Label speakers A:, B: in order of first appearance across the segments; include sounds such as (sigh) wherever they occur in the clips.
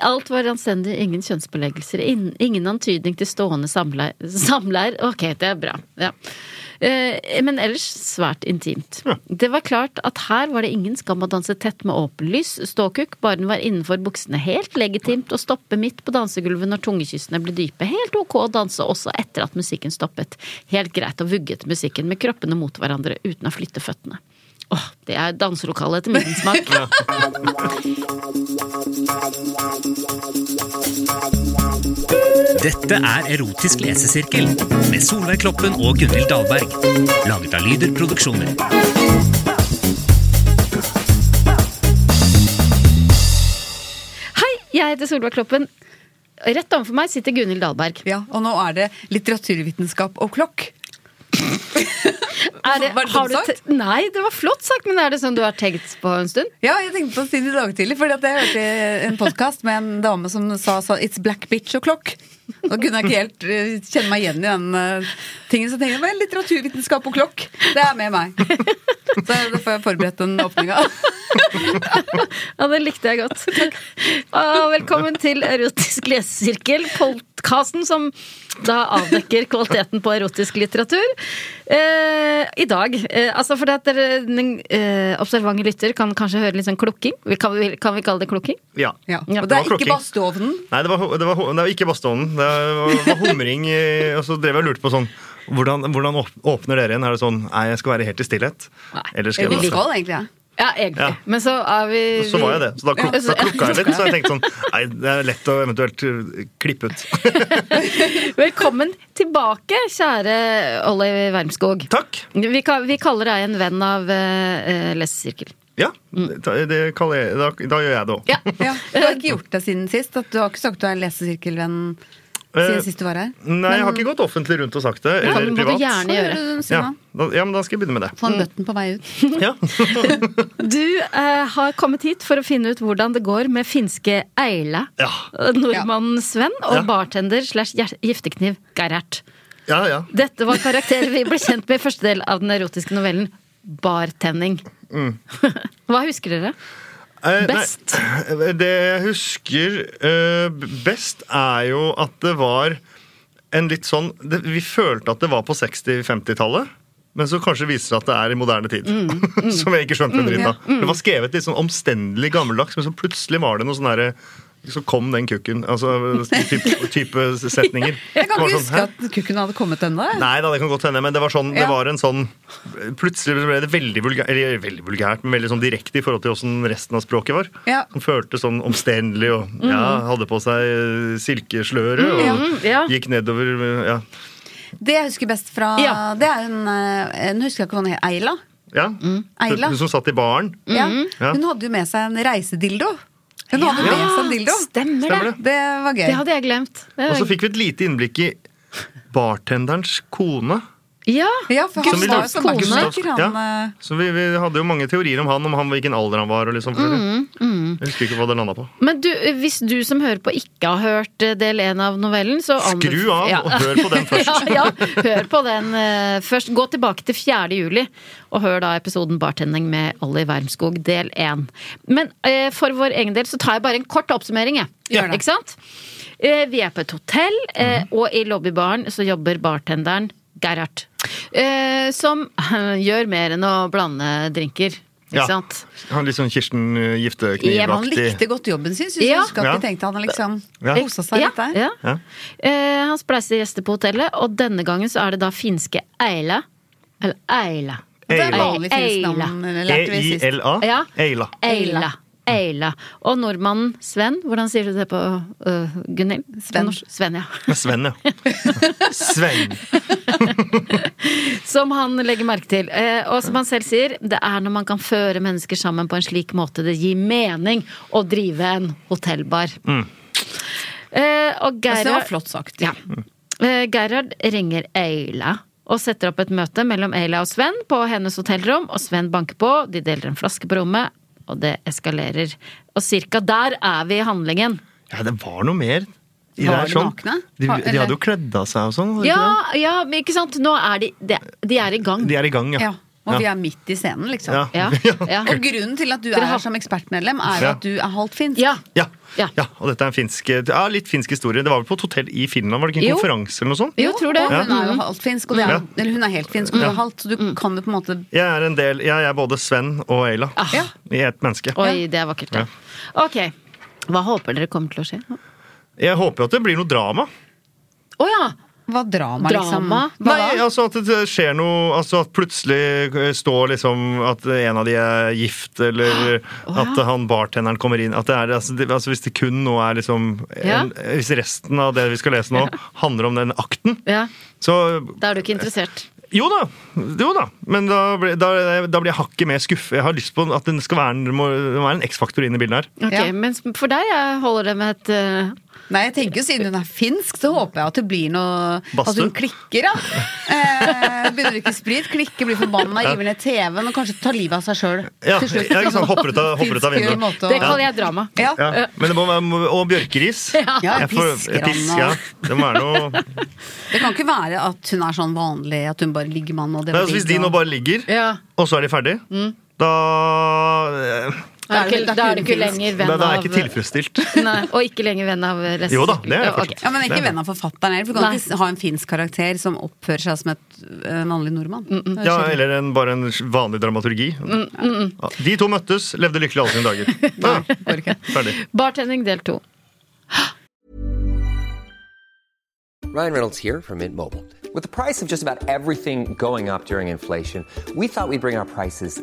A: Alt var anstendig, ingen kjønnsbeleggelser, ingen, ingen antydning til stående samleir. samleir. Ok, det er bra. Ja. Eh, Men ellers svært intimt. Det var klart at her var det ingen skam å danse tett med åpen lys, ståkukk, bare den var innenfor buksene. Helt legitimt å stoppe midt på dansegulvet når tungekyssene ble dype. Helt ok å danse også etter at musikken stoppet. Helt greit å vugge til musikken med kroppene mot hverandre uten å flytte føttene. Åh, det er danselokale etter min smak.
B: Dette er Erotisk lesesirkel med Solveig Kloppen og Gunhild Dahlberg. Laget av Lyder Produksjoner.
A: Hei, jeg heter Solveig Kloppen. Rett overfor meg sitter Gunhild Dahlberg.
C: Ja, og nå er det litteraturvitenskap og klokk.
A: Er det,
C: Var det
A: har
C: dumt
A: du
C: sagt?
A: te- Nei, det var flott sagt, men er det sånn du har tenkt på en stund?
C: Ja, jeg tenkte på å si det i dag tidlig, for jeg hørte en podkast med en dame som sa sa, 'it's black bitch' og klokk. Nå kunne jeg ikke helt eh, kjenne meg igjen i den eh, tingen. Så tenkte jeg vel, litteraturvitenskap og klokk, det er med meg. Så da får jeg forberedt den åpninga.
A: Ja, det likte jeg (laughs) godt. Og velkommen til Erotisk lesesirkel, podkasten som da avdekker kvaliteten på erotisk litteratur. Eh, I dag. Eh, altså fordi at dere, den eh, observante lytter kan kanskje høre litt sånn klukking. Vi Kan vi, kan vi kalle det klukking?
D: Ja.
C: Ja.
A: Ja,
C: Og det
D: det var
C: er ikke
D: klokking.
C: badstueovnen.
D: Nei, det var, ho- det var, ho- det var ikke Bastånen. Det var, var humring. eh, (laughs) Og så drev jeg og lurte på sånn hvordan, hvordan åp- åpner dere igjen? Er det sånn Nei, jeg skal være helt i stillhet?
A: Nei.
D: Eller skal
C: Eller
D: jeg
C: skål, egentlig.
D: (laughs)
C: Ja.
A: Ja, egentlig.
D: Ja.
A: Men så er vi
D: Og så var jeg det. Så da, kluk, da klukka jeg litt. Så jeg tenkte
A: (laughs)
D: sånn Nei, det er lett å eventuelt eh, klippe ut. (laughs)
A: Velkommen tilbake, kjære Olli Wermskog.
D: Takk.
A: Vi, ka- vi kaller deg en venn av uh, lesesirkel.
D: Ja, det, det kaller jeg, da, da gjør jeg det òg.
A: Mm. Ja.
C: Ja. Du har ikke gjort det siden sist? At du har ikke sagt du er en lesesirkelvenn
D: Eh,
C: siden sist du var her?
D: Nei, jeg har ikke gått offentlig rundt og sagt det.
A: Ja,
D: Eller
A: men må du
D: privat.
A: gjerne
C: Hva
A: gjøre.
C: gjør du,
D: Ja,
C: Sunna?
D: da, ja, men da skal jeg begynne
A: (laughs)
D: med det.
C: Få en button på vei ut.
D: Ja.
A: Du eh, har kommet hit for å finne ut hvordan det går med finske Eila,
D: Ja.
A: nordmannen Sven og
D: Ja.
A: bartender slash gjer- giftekniv Gerhard.
D: ja, ja.
A: Dette var karakterer vi ble kjent med i første del av den erotiske novellen Bartenning.
D: Mm.
A: (laughs) Hva husker dere?
D: Eh,
A: Best?
D: Nei, det jeg husker eh, b- best, er jo at det var en litt sånn det, Vi følte at det var på 60-50-tallet. Men så kanskje viser det at det er i moderne tid.
C: Mm,
D: (laughs) som jeg ikke skjønte en dritt av. Det var skrevet litt sånn omstendelig gammeldags, men så plutselig var det noe sånn derre Så kom den kukken. Altså type,
C: (laughs)
D: type setninger.
C: Jeg kan
D: Det var
C: ikke
D: sånn,
C: huske
D: "Hæ?"
C: at kukken hadde kommet ennå. jeg.
D: Nei da, det kan godt hende, men det var sånn, det
C: Ja.
D: var en sånn Plutselig ble det veldig, vulga- eller, veldig vulgært, men veldig sånn direkte i forhold til åssen resten av språket var.
C: Ja. Mm.
D: Som føltes sånn omstendelig og ja, hadde på seg eh, silkesløre og
A: ja.
D: gikk nedover eh, Ja.
C: Det jeg husker best fra
A: Ja.
C: Det er hun eh, Nå husker jeg ikke hva hun het. Eila?
D: ja.
C: Mm. Eila. Mm.
D: Hun som satt i baren.
C: Ja.
A: Mm-hmm.
D: Ja.
C: Hun hadde jo med seg en reisedildo. Hun hadde med seg en dildo.
A: Ah, Stemmer det!
D: Stemmer det.
C: Det var gøy.
A: Det hadde jeg glemt. Det
D: Og
A: var-
D: så fikk vi et lite innblikk i bartenderens kone.
A: ja.
C: Ja, for han
D: Som vi
C: var jo
D: lurte-
C: som
D: Gustavs-
C: bakermaker,
D: ja.
C: han eh,
D: Så vi, vi hadde jo mange teorier om han, om han, hvilken alder han var. og liksom
C: Mm,
D: forskjellig. Jeg husker ikke hva det landa på.
A: Men du, hvis du som hører på ikke har hørt eh, del én av novellen, så anbef-
D: Skru av
A: Ja.
D: og hør på
C: (laughs)
D: den
A: (laughs)
D: først.
A: ja, ja, hør på den eh, først. Gå tilbake til 4. juli og hør da episoden Bartending med Olli Wermskog del 1. Men eh, for vår egen del så tar jeg bare en kort oppsummering, jeg.
C: Gjør det.
A: Ikke sant? Eh, vi er på et hotell, eh,
D: Mhm.
A: og i lobbybaren så jobber (laughs) bartenderen Gerhard. Eh, som gjør mer enn å blande drinker. Ikke
D: Ja.
A: sant?
D: Han Litt sånn Kirsten eh,
A: Ja, men
C: Han likte
D: Gifteknivaktig.
C: godt jobben sin, syns
A: Ja.
C: jeg. Husker at
D: Ja.
C: jeg tenkte han liksom
D: Ja.
C: kosa seg litt der.
A: Ja, ja.
D: Ja.
A: Eh, han spleiser gjester på hotellet, og denne gangen så er det da finske Eila. Eller Eila.
C: Det er
A: Eila.
C: vanlig finsk navn, eh, lærte vi sist.
D: E-I-L-A?
A: Ja.
D: Eila.
A: Eila. Eila. Og nordmannen Sven. Hvordan sier du det på øh, Gunhild? På
C: Sven.
A: norsk? Sven, ja.
D: Ja,
C: (laughs)
D: Sven, ja. Sven.
A: (laughs) Som han legger merke til. Eh, og som han selv sier, det er når man kan føre mennesker sammen på en slik måte det gir mening å drive en hotellbar. Eh, og
C: Altså, det var
A: Gerhard
C: flott sagt.
A: Ja. Eh, Gerhard ringer Eila og setter opp et møte mellom Eila og Sven på hennes hotellrom, og Sven banker på, de deler en flaske på rommet, og det eskalerer. Og cirka der er vi i handlingen.
D: Ja, det var noe mer. i
C: Var
D: det her,
C: de
D: sånn.
C: nakne?
D: De,
C: Ha-
D: de
C: eller-
D: hadde jo kledd av seg og sånn. hadde de ikke
A: Ja, ja, men ikke sant? Nå er de De, de er i gang.
D: det? De er i gang, ja.
C: Ja. Og vi
D: Ja.
C: er midt i scenen, liksom.
D: Ja.
A: Ja, ja.
C: Og grunnen til at du er
A: har-
C: her som ekspertmedlem, er jo
D: Ja.
C: at du er halvt finsk.
A: ja.
D: Ja.
A: Ja.
D: Ja. og dette er en finsk, eh, ja, litt finsk historie. Det var vel på et hotell i Finland? Var det ikke en
A: Jo.
D: konferanse eller noe sånt?
A: Jo, tror det. Mm. Mm-hmm.
C: Og hun er jo halvt finsk, og det er,
D: Ja.
C: eller hun er helt finsk, og du er halvt, så du kan jo på en måte
D: Jeg er en del, jeg er både Sven og Eila
C: Ah. Ja.
D: i ett menneske.
A: Oi, det er vakkert. Ja.
D: Ja.
A: Ok. Hva håper dere kommer til å skje? Å
D: Jeg håper jo at det blir noe drama.
A: ja!
C: Hva drama, liksom?
A: Drama?
C: Hva
D: Nei,
C: da?
D: altså at det skjer noe Altså at plutselig eh, står liksom at en av de er gift, eller at han bartenderen kommer inn at det er, altså, det, altså Hvis det kun nå er liksom
A: Ja.
D: en, Hvis resten av det vi skal lese nå, handler om den akten,
A: ja.
D: så
A: Da er du ikke interessert.
D: Jo da! Jo da. Men da, blir- da, da blir jeg hakket mer skuffet. Jeg har lyst på at det skal være en, det må, det må være en X-faktor inn i bildet her.
A: Ok,
C: Ja.
A: Men for deg jeg holder det med et eh,
C: Nei, jeg tenker jo siden hun er finsk, så håper jeg at det blir noe At
D: Badstue?
C: hun
D: (laughs)
C: klikker, ja. Eh, begynner å drikke sprit, klikker, blir forbanna, river ned TV-en og kanskje tar livet av seg sjøl.
D: Ja, ja, ikke sant, hopper ut av, hopper ut av
C: Finsk
D: vinduet.
C: liksom. måte å-
A: Det kaller jeg drama.
C: Ja.
D: Ja, men det må være, Og bjørkeris.
C: Ja,
D: Jeg får-
C: pisker han,
D: pisk,
C: og-
D: ja. Det må være noe
C: Det kan ikke være at hun er sånn vanlig, at hun bare ligger med han og det
D: Nei,
C: var
D: altså, Hvis
C: digg,
D: de nå
C: og-
D: bare ligger,
A: Ja. Mm.
D: og så er de ferdig, da eh,
A: Da er du ikke, da er du ikke
C: finsk.
A: lenger venn
D: Da,
A: av
D: da er jeg ikke tilfredsstilt.
A: (laughs) Nei, Og ikke lenger venn av resten.
D: Jo da, det er jeg
A: Ja, ok.
D: forstått.
C: Ja, Men ikke venn av forfatteren heller, for du kan
A: Nei.
C: ikke ha en finsk karakter som oppfører seg som et eh, mannlig nordmann. Det er
D: Ja,
C: sjelden.
D: Eller en, bare en vanlig dramaturgi.
A: Mm,
D: Ja, De to møttes, levde lykkelig alle
A: (laughs)
D: sine dager. Ja,
C: Går ikke.
D: ferdig.
A: Bartending del to.
E: Ryan Reynolds here from Mint Mobile. With the price of just about everything going up during inflation, we thought we'd bring our prices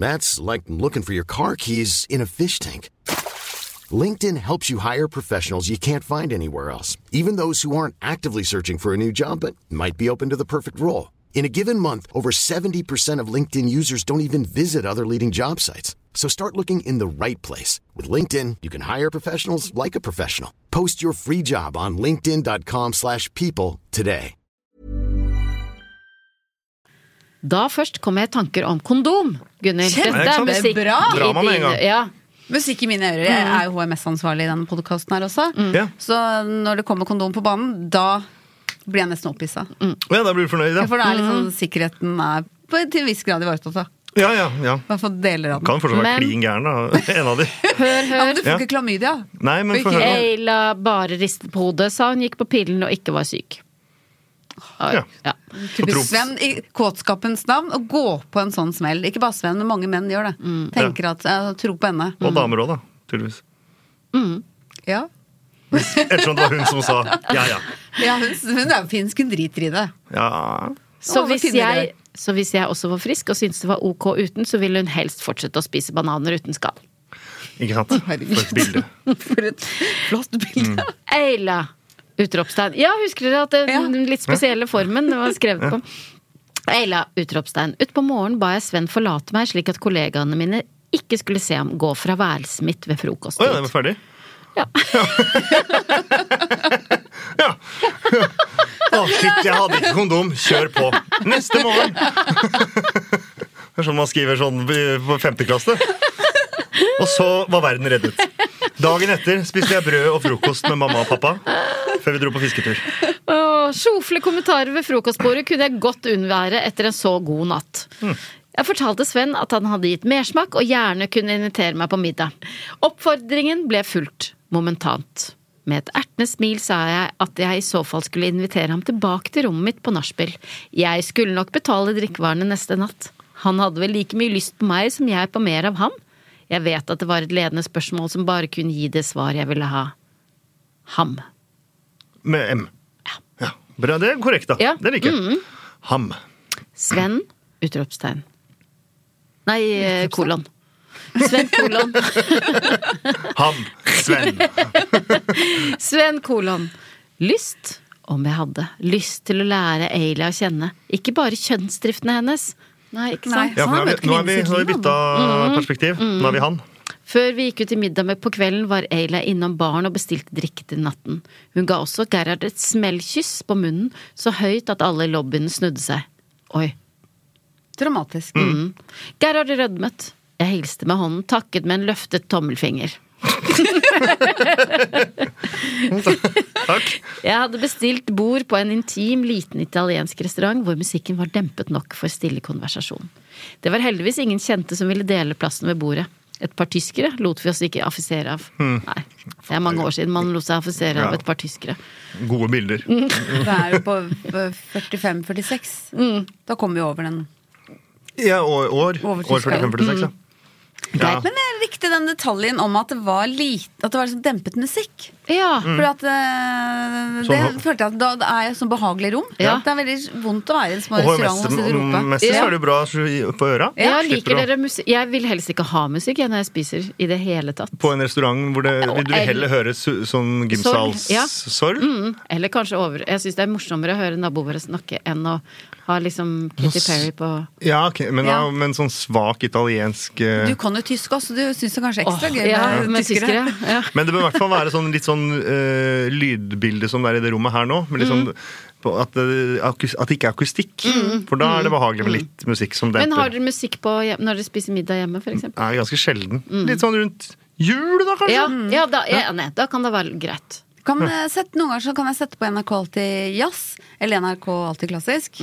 F: That's like looking for your car keys in a fish tank. LinkedIn helps you hire professionals you can't find anywhere else, even those who aren't actively searching for a new job but might be open to the perfect role. In a given month, over 70% of LinkedIn users don't even visit other leading job sites. So start looking in the right place. With LinkedIn, you can hire professionals like a professional. Post your free job on linkedin.com/people slash people today.
A: Da først kom jeg i tanker om kondom. Gunhild,
C: Kjempe-
A: dette er musikk.
C: Bra!
A: i
D: Drama med en
A: dine-
D: gang.
A: Ja.
C: Musikk i mine ører. Jeg er jo HMS-ansvarlig i denne podkasten her også.
A: Mm.
D: Ja.
C: Så når det kommer kondom på banen, da blir jeg nesten opphissa.
D: ja, Mm. da blir du fornøyd,
C: Ja,
D: ja.
C: For da er liksom sikkerheten er på, til en viss grad ivaretatt, da.
D: Ja, ja, ja.
C: I hvert fall deler av den.
D: Kan fortsatt
A: Men-
D: være klin gæren, da. (laughs) En av de.
A: Hør,
C: Ja,
A: hør.
C: men du får
D: Ja.
C: ikke klamydia.
D: Nei, men få høre. nå.
A: Eila bare ristet på hodet, sa hun gikk på pillen og ikke var syk. Oi,
D: Ja.
A: ja.
C: Typisk
D: tro.
C: Sven i kåtskapens navn å gå på en sånn smell. Ikke bare Sven, men mange menn gjør det.
D: Mm.
C: Tenker at eh, Tro på henne.
A: Mm.
D: Og damer òg, da. Tydeligvis.
C: Ja.
D: Ettersom det var hun som sa ja, ja.
C: ja hun, hun er jo finsk, hun driter i det.
D: ja.
A: Så,
C: Å, hva
A: hvis
C: finner
A: jeg, så hvis jeg også var frisk og syntes det var ok uten, så ville hun helst fortsette å spise bananer uten skall.
D: Ikke sant? For et bilde.
C: For et flott bilde.
D: Mm.
A: Eila! Utropstegn. Ja, husker dere at den
C: Ja.
A: litt spesielle formen var skrevet på? Eila! Utropstegn. Utpå morgenen ba jeg Sven forlate meg, slik at kollegaene mine ikke skulle se ham gå fra værelset mitt ved
D: Å ja, den
A: frokosttid.
D: var ferdig?
A: Ja.
D: (laughs) Ja. Å, shit, jeg hadde ikke kondom. Kjør på. (laughs) Neste morgen. Det er sånn man skriver sånn i- på femte klasse. Og så var verden reddet. Dagen etter spiste jeg brød og frokost med mamma og pappa før vi dro på fisketur.
A: Åh, Sjofle kommentarer ved frokostbordet kunne jeg godt unnvære etter en så god natt. Jeg fortalte Sven at han hadde gitt mersmak og gjerne kunne invitere meg på middag. Oppfordringen ble fulgt momentant. Med et ertende smil sa jeg at jeg i så fall skulle invitere ham tilbake til rommet mitt på nachspiel. Jeg skulle nok betale drikkevarene neste natt. Han hadde vel like mye lyst på meg som jeg på mer av ham. Jeg vet at det var et ledende spørsmål som bare kunne gi det svar jeg ville ha. Ham.
D: Med M. Ja. Bra, det er korrekt, da.
A: Ja. Mm.
D: Det liker jeg. Ham.
A: Sven utropstegn. Nei, eh, kolon. Sven kolon.
D: Ham. Sven.
A: Sven kolon. Lyst, om jeg hadde. Lyst til å lære Ailey å kjenne. Ikke bare kjønnsdriftene hennes. Nei, ikke sant?
D: Ja, for nå har vi, nå har vi, nå har vi bytta
A: Mm.
D: perspektiv. Nå er vi han.
A: Før vi gikk ut til middag med på kvelden, var Ayla innom baren og bestilte drikke til natten. Hun ga også Gerhard et smellkyss på munnen, så høyt at alle i lobbyen snudde seg. Oi.
C: Dramatisk.
D: Mm.
A: Gerhard rødmet. Jeg hilste med hånden, takket med en løftet tommelfinger.
D: (laughs) Takk.
A: Jeg hadde bestilt bord på en intim, liten italiensk restaurant hvor musikken var dempet nok for stille konversasjon. Det var heldigvis ingen kjente som ville dele plassen ved bordet. Et par tyskere lot vi oss ikke affisere av. Nei, Det er mange år siden man lot seg affisere av
D: Hmm. Ja.
A: et par tyskere.
D: Gode bilder.
C: Det er jo på eh, 45-46.
D: Mm.
C: Da kommer vi over den.
D: Ja, år, år,
C: Over
D: år
C: til
D: 45-46,
A: Mm.
D: ja. Ja.
C: Men jeg likte den detaljen om at det var, lite, at det var liksom dempet musikk.
A: Ja,
D: Hmm.
C: For at eh, det
D: Sånn-
C: følte jeg at da det er jo sånn behagelig rom.
A: Ja.
C: Det er veldig vondt å være i en små
D: Og
C: restaurant og sitte og rope.
D: HMS-mester
A: Ja.
D: så er det jo bra så- på øra.
A: jeg
D: Slipper
A: liker
D: å-
A: dere musikk. Jeg vil helst ikke ha musikk jeg, når jeg spiser i det hele tatt.
D: På en restaurant hvor det, vil du
A: el-
D: heller høre su- sånn
A: Sorg, ja.
D: gymsalsorg?
A: Mm. Eller kanskje over. Jeg syns det er morsommere å høre naboer snakke enn å ha liksom Kitty Perry på
D: Ja, ok, men,
C: Ja.
D: da- men sånn svak italiensk eh,
C: Du kan jo tysk også, du syns det kanskje er ekstra
A: Åh,
C: gøy
A: ja, med tyskere. Ja.
D: Men det bør i hvert fall være sånn, litt sånn eh, lydbilde som det er i det rommet her nå. Med litt
A: Mm.
D: sånn, på, at, det- akus, at det ikke er akustikk. For da er det behagelig med litt musikk som demper.
A: Mm. Men har dere musikk på hjem- når dere spiser middag hjemme, for eksempel?
D: Er ganske sjelden. Litt sånn rundt jul, da, kanskje?
A: Mm. Ja,
C: Mm.
A: ja, da, jeg er enig. Da kan det være greit.
C: Kan eh, sette, noen ganger så kan jeg sette på NRK Alltid Jazz, eller NRK Alltid Klassisk.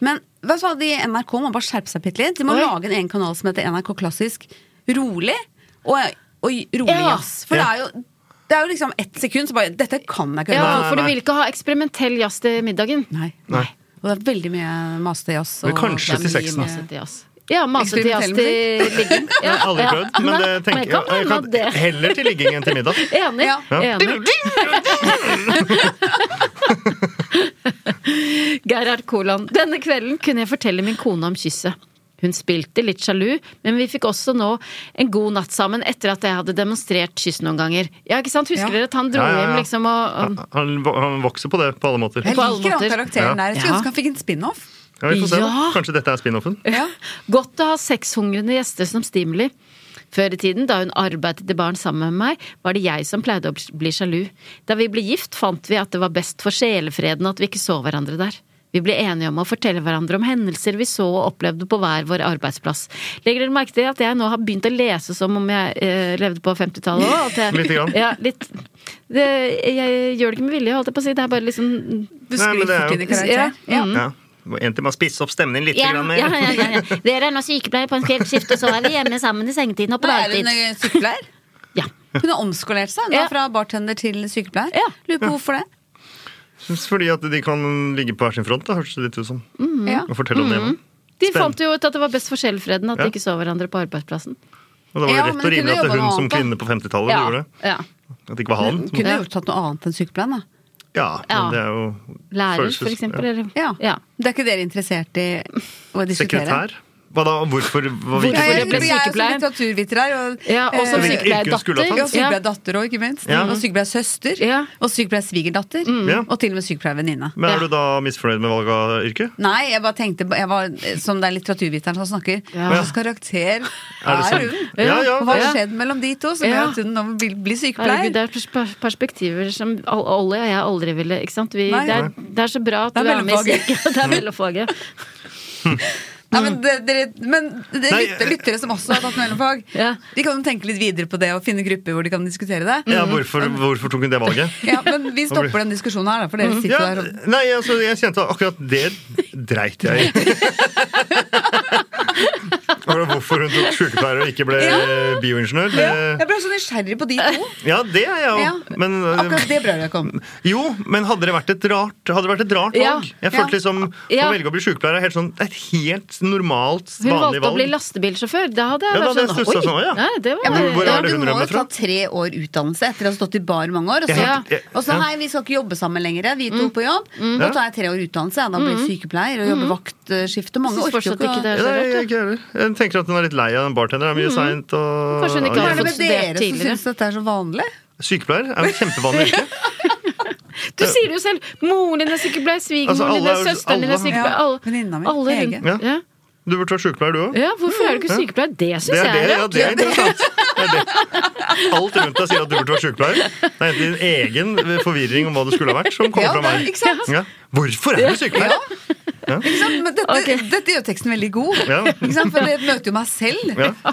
C: Men vet du hva, de i NRK må bare skjerpe seg bitte litt. De må
A: Oi.
C: lage en egen kanal som heter NRK Klassisk rolig, og, og rolig
A: Ja.
C: jazz. For
D: Ja.
C: det er jo det er jo liksom ett sekund, så bare Dette kan jeg ikke
A: Ja,
C: høre på.
D: nei,
A: for du
D: nei.
A: vil ikke ha eksperimentell jazz til middagen?
C: Nei.
D: Nei.
C: Og det er veldig mye masete jazz.
D: Men
C: og-
D: kanskje
C: det er
D: til
C: mye
D: sexen.
C: masete.
A: Masete jazz. Ja, masete jazz til
C: Eksperimentell
A: ligging. Ja,
D: Jeg har Eh, aldri
A: ja.
D: prøvd, men det
A: Nei,
D: tenker jeg, jeg
A: kan
D: kan
A: hende det.
D: heller til ligging enn til
A: (laughs)
D: middag.
A: Enig.
C: Ja.
D: Ja.
A: enig. (laughs) Gerhard Koland. Denne kvelden kunne jeg fortelle min kone om kysset. Hun spilte litt sjalu, men vi fikk også nå en god natt sammen etter at jeg hadde demonstrert kyss noen ganger. Ja, ikke sant? Husker
C: Ja.
A: dere at han dro
D: Ja, ja, ja.
A: hjem liksom og, og
D: Han, han vokser på det på alle måter.
C: Jeg
A: På alle
C: liker han
A: måter.
C: karakteren
D: Ja.
C: der. Jeg skulle
A: Ja.
C: ønske han fikk en spin-off.
D: Ja, vi får se, da.
A: Ja.
D: Kanskje dette er spin-offen?
C: Ja.
A: Godt å ha sexhungrende gjester som stimuli. Før i tiden, da hun arbeidet i baren sammen med meg, var det jeg som pleide å bli sjalu. Da vi ble gift, fant vi at det var best for sjelefreden at vi ikke så hverandre der. Vi ble enige om å fortelle hverandre om hendelser vi så og opplevde på hver vår arbeidsplass. Legger dere merke til at jeg nå har begynt å lese som om jeg eh, levde på 50-tallet òg?
D: Lite grann.
A: Ja, litt. Det, jeg gjør det ikke med vilje, holdt jeg på å si. Det er bare liksom
C: Du
D: Nei, men det er
C: skriker
D: jo-
C: inn i karakteren. Ja.
A: Mm.
D: Ja. En til må spisse opp stemningen litt.
A: ja,
D: grann eh. mer.
A: ja, ja,
D: (laughs)
A: ja, ja. Dere er nå sykepleiere på en kveldsskift, og så er vi hjemme sammen i sengetiden og på
C: Nei, er hun
A: dagtid.
C: eh, sykepleier?
A: Ja.
C: Hun har omskolert seg hun da,
A: Ja.
C: fra bartender til sykepleier.
A: Ja.
C: Lurer på hvorfor det.
D: Fordi at de kan ligge på hver sin front, da, høres det litt ut som.
A: Mm.
C: Ja.
D: Og fortelle om det hjemme.
A: De
D: Spenn.
A: fant jo ut at det var best for sjelfreden at
D: Ja.
A: de ikke så hverandre på arbeidsplassen.
D: Og da var det
C: Ja, men
D: rett
C: de
D: og
C: kunne
D: rimelig at
C: jobbe
D: hun
C: noe
D: som
C: annet, da.
D: kvinne på 50-tallet gjorde det.
A: ja.
D: At det ikke var han.
C: Hun
D: som-
C: kunne jo tatt noe annet enn sykepleier. Da.
D: Ja,
A: Ja.
D: men det er jo
A: Lærer,
D: følelses-
A: for eksempel.
D: ja.
A: Eller?
C: Ja.
A: Ja.
C: Det er ikke dere interessert i å diskutere?
D: Sekretær? Hva da? Hvorfor var vi
A: Hvorfor
C: Ja,
A: For
C: jeg,
D: ikke
A: det ble
C: jeg er jo som
A: sykepleier.
C: litteraturviter her. Og,
A: Ja, og som
D: Så
C: eh,
D: hvilket yrke hun skulle ha
A: sykepleierdatter.
C: ja,
D: tatt?
A: Ja.
C: sykepleierdatter òg, ikke minst.
D: Ja.
C: Og sykepleiersøster.
A: Ja. Mm.
C: Og sykepleiersvigerdatter.
D: Ja.
C: Og til og med sykepleiervenninne.
D: Men er du da misfornøyd med valget av yrke?
C: Nei, jeg bare tenkte jeg var, Som det er litteraturviteren som snakker.
A: Ja.
C: Hva slags karakter
D: Er det
C: er,
D: sånn?
C: hun?
D: Ja, ja.
C: Hva har
A: Ja.
C: skjedd mellom de to som
A: Ja.
C: gjør at hun nå vil bli
A: Herregud,
C: sykepleier?
A: det er pers- perspektiver som all- Ollie og jeg aldri ville ikke sant? Vi,
C: Nei.
A: (laughs) det, er, det er så bra at
C: Det er
A: du er med i
C: mellomfaget.
A: sirkelen. Det er mellomfaget.
C: Ja, men det, dere, men det er
D: Nei,
C: lytter, lyttere som også har tatt mellomfag,
A: Ja.
C: de kan jo tenke litt videre på det og finne grupper hvor de kan diskutere det.
A: Mhm.
D: Ja, hvorfor, hvorfor tok hun
A: (laughs)
D: det valget?
C: Ja, Men vi stopper den diskusjonen her, da, for dere
D: Mm. Ja,
C: sitter der og
D: nei, altså, jeg kjente at akkurat det
A: (laughs)
D: dreit jeg i. Var det Hvorfor hun tok sykepleier og ikke ble
C: Ja.
D: bioingeniør?
C: ja,
D: Det,
C: Jeg ble så nysgjerrig på de to.
D: ja, det er jeg
C: Ja.
D: jo. Men, eh,
C: Akkurat det brød jeg kom.
D: jo, men hadde det vært et rart, hadde det vært et rart
A: Ja.
D: valg? Jeg
C: Ja.
D: følte liksom
A: Ja.
D: Å velge å bli sykepleier er helt sånn, et helt normalt,
A: Hun
D: vanlig
A: valgte å
D: valg.
A: bli lastebilsjåfør. Da hadde jeg
D: Ja,
A: vært
D: da hadde jeg stusset
A: sånn
D: sånn,
A: Oi!
D: «Å, ja».
A: Nei, det
D: Ja,
A: var
D: men hvor er det
C: du må
D: hun
C: jo
D: rømmer
C: ta
D: fra?
C: tre år utdannelse etter å ha stått i bar i mange år. Og så,
A: Ja.
D: Jeg-
C: og så
D: ja.
C: hei, vi skal ikke jobbe sammen lenger. Vi
A: Mm.
C: to på jobb. Da tar jeg tre år utdannelse. Ja, da blir jeg sykepleier og jobber vaktskifte. Mange
A: Mm. Synes
C: orker jo
A: fortsatt
C: ikke
A: ikke det
C: å-
A: er
D: Ja,
A: så
D: nei,
A: rart.
D: jeg,
A: ja. Mhm.
D: ikke heller. jeg tenker at hun er litt lei av den bartenderen. Det er mye seint. Og...
A: Kanskje hun ikke
C: Hva
A: har
C: er det
A: fått
C: med
A: studert
C: dere som
A: tidligere?
C: syns dette er så vanlig?
D: Sykepleier er jo et kjempevanlig
A: (laughs)
D: yrke.
A: Du sier det jo selv! Moren din er sykepleier, svigermoren
D: Eh, Altså,
A: din er
D: alle er-
A: søsteren din er
D: alle-
A: sykepleier.
C: Ja,
A: Alle,
C: venninna mi,
A: alle
C: Hege.
A: rundt-
D: Ja.
A: Ja.
D: Du burde vært sykepleier, du òg.
A: ja, hvorfor er du ikke sykepleier? Det syns
D: Det
A: jeg
D: er det,
A: er
D: ja,
A: rart.
D: det er interessant. Det er det. Alt rundt deg sier at du burde vært sykepleier. Det er enten din egen forvirring om hva det skulle ha vært, som
C: Ja,
D: kommer fra
C: det-
D: meg.
C: ikke sant?
D: Ja. Hvorfor er du sykepleier?
C: Ikke sant? Men dette,
A: Ok.
C: dette gjør teksten veldig god.
D: Ja.
C: Ikke sant? For det møter jo meg selv.
D: Ja.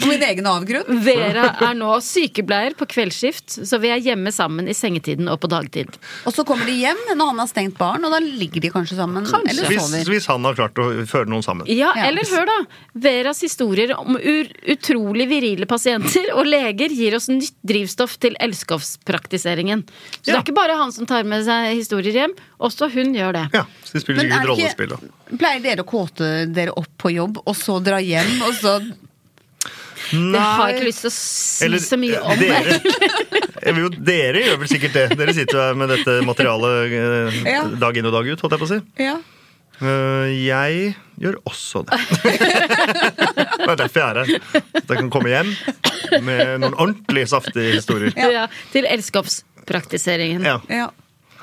C: Og min egen avgrunn.
A: Vera er nå sykepleier på kveldsskift, så vi er hjemme sammen i sengetiden og på dagtid.
C: Og så kommer de hjem når han har stengt baren, og da ligger de kanskje sammen.
A: Kanskje.
C: Eller
D: Hvis,
C: sover.
D: hvis han har klart å føre noen sammen.
A: Ja,
C: Ja.
A: eller hør da. Veras historier om ur utrolig virile pasienter og leger gir oss nytt drivstoff til elskovspraktiseringen. Så det
D: Ja.
A: er ikke bare han som tar med seg historier hjem, også hun gjør det.
D: Ja, så de spiller
C: Men er
D: sikkert
C: det
D: rollespill, da.
C: ikke, pleier dere å kåte dere opp på jobb, og så dra hjem, og så
A: Det har jeg ikke lyst til å si
D: Eller, eh,
A: så mye om.
D: dere, Jeg vil jo, dere gjør vel sikkert det. Dere sitter jo her med dette materialet eh,
C: Ja.
D: dag inn og dag ut, holdt jeg på å si.
C: Ja.
D: Eh, jeg gjør
C: (laughs)
D: også det. det er derfor jeg er her. At jeg kan komme hjem med noen ordentlig saftige historier.
A: Ja. til elskovspraktiseringen.
D: Ja.
C: ja.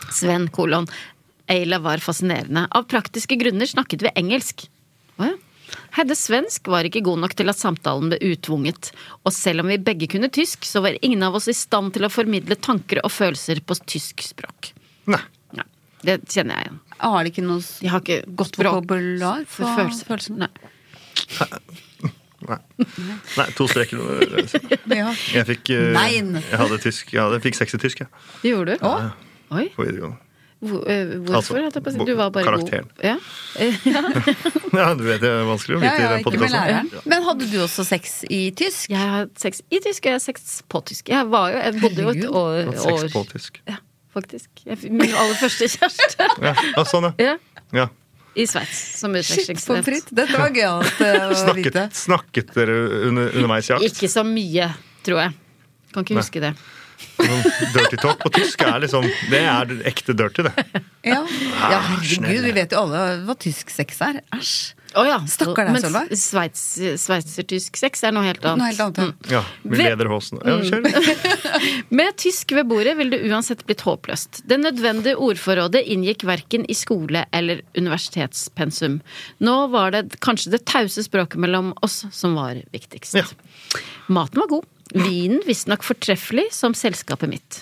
A: Sven kolon. Eila var fascinerende. Av praktiske grunner snakket vi engelsk. Å ja. Heddes svensk var ikke god nok til at samtalen ble utvunget. Og selv om vi begge kunne tysk, så var ingen av oss i stand til å formidle tanker og følelser på tysk språk.
D: Nei.
A: Nei, det kjenner jeg igjen.
C: Har de ikke noe s-
A: De har ikke godt språk
C: vokabular
A: for
C: for
A: følelser.
C: følelsen?
A: Nei.
D: Nei. Nei, to streker.
C: Ja.
D: Jeg fikk eh,
C: Nein.
D: Jeg hadde tysk. Jeg hadde, fikk seks i tysk jeg,
A: Det gjorde du?
C: Å?
A: Oi.
D: på videregående.
A: Hvor, eh, hvorfor?
D: Altså,
A: holdt jeg på å si?
D: bo-
A: du var bare
D: karakteren.
A: god. Ja.
D: Ja, du vet det er vanskelig å
C: (laughs) Ja,
D: vite
C: ja,
D: i den
C: ikke med læreren.
D: podkasten.
C: Men hadde du også sex i tysk?
A: Jeg har hatt sex i tysk, og jeg har sex på tysk. Jeg, var jo, jeg bodde jo et år,
D: Seks på
A: år
D: tysk.
A: Ja, faktisk. Jeg, fikk min aller første kjæreste.
D: Ja, ja, sånn, ja.
A: Ja,
D: ja.
A: I Sveits, som
C: Shit, pommes frites.
A: utvekslingsstudent.
C: Dette var
D: (laughs)
C: gøyalt eh, å
D: Snakket,
C: vite.
D: snakket dere under, underveis i jakt?
A: Ikke så mye, tror jeg. Kan ikke huske det.
D: Sånn Dirty talk på tysk er liksom Det er ekte dirty, det.
C: Ja.
D: Ah,
C: ja, herregud, vi vet jo alle hva tysk sex er. Æsj.
A: Å ja.
C: Stakkar deg,
A: Men
C: Solveig.
A: sveits- Sveitsertysk sex er noe helt annet.
C: Noe helt annet. ja.
D: Ja, Vi
A: Ve-
D: leder håsen. Ja, kjør.
A: Med tysk ved bordet ville det uansett blitt håpløst. Det nødvendige ordforrådet inngikk verken i skole eller universitetspensum. Nå var det kanskje det tause språket mellom oss som var viktigst.
D: Ja.
A: Maten var god. Vinen visstnok fortreffelig som selskapet mitt.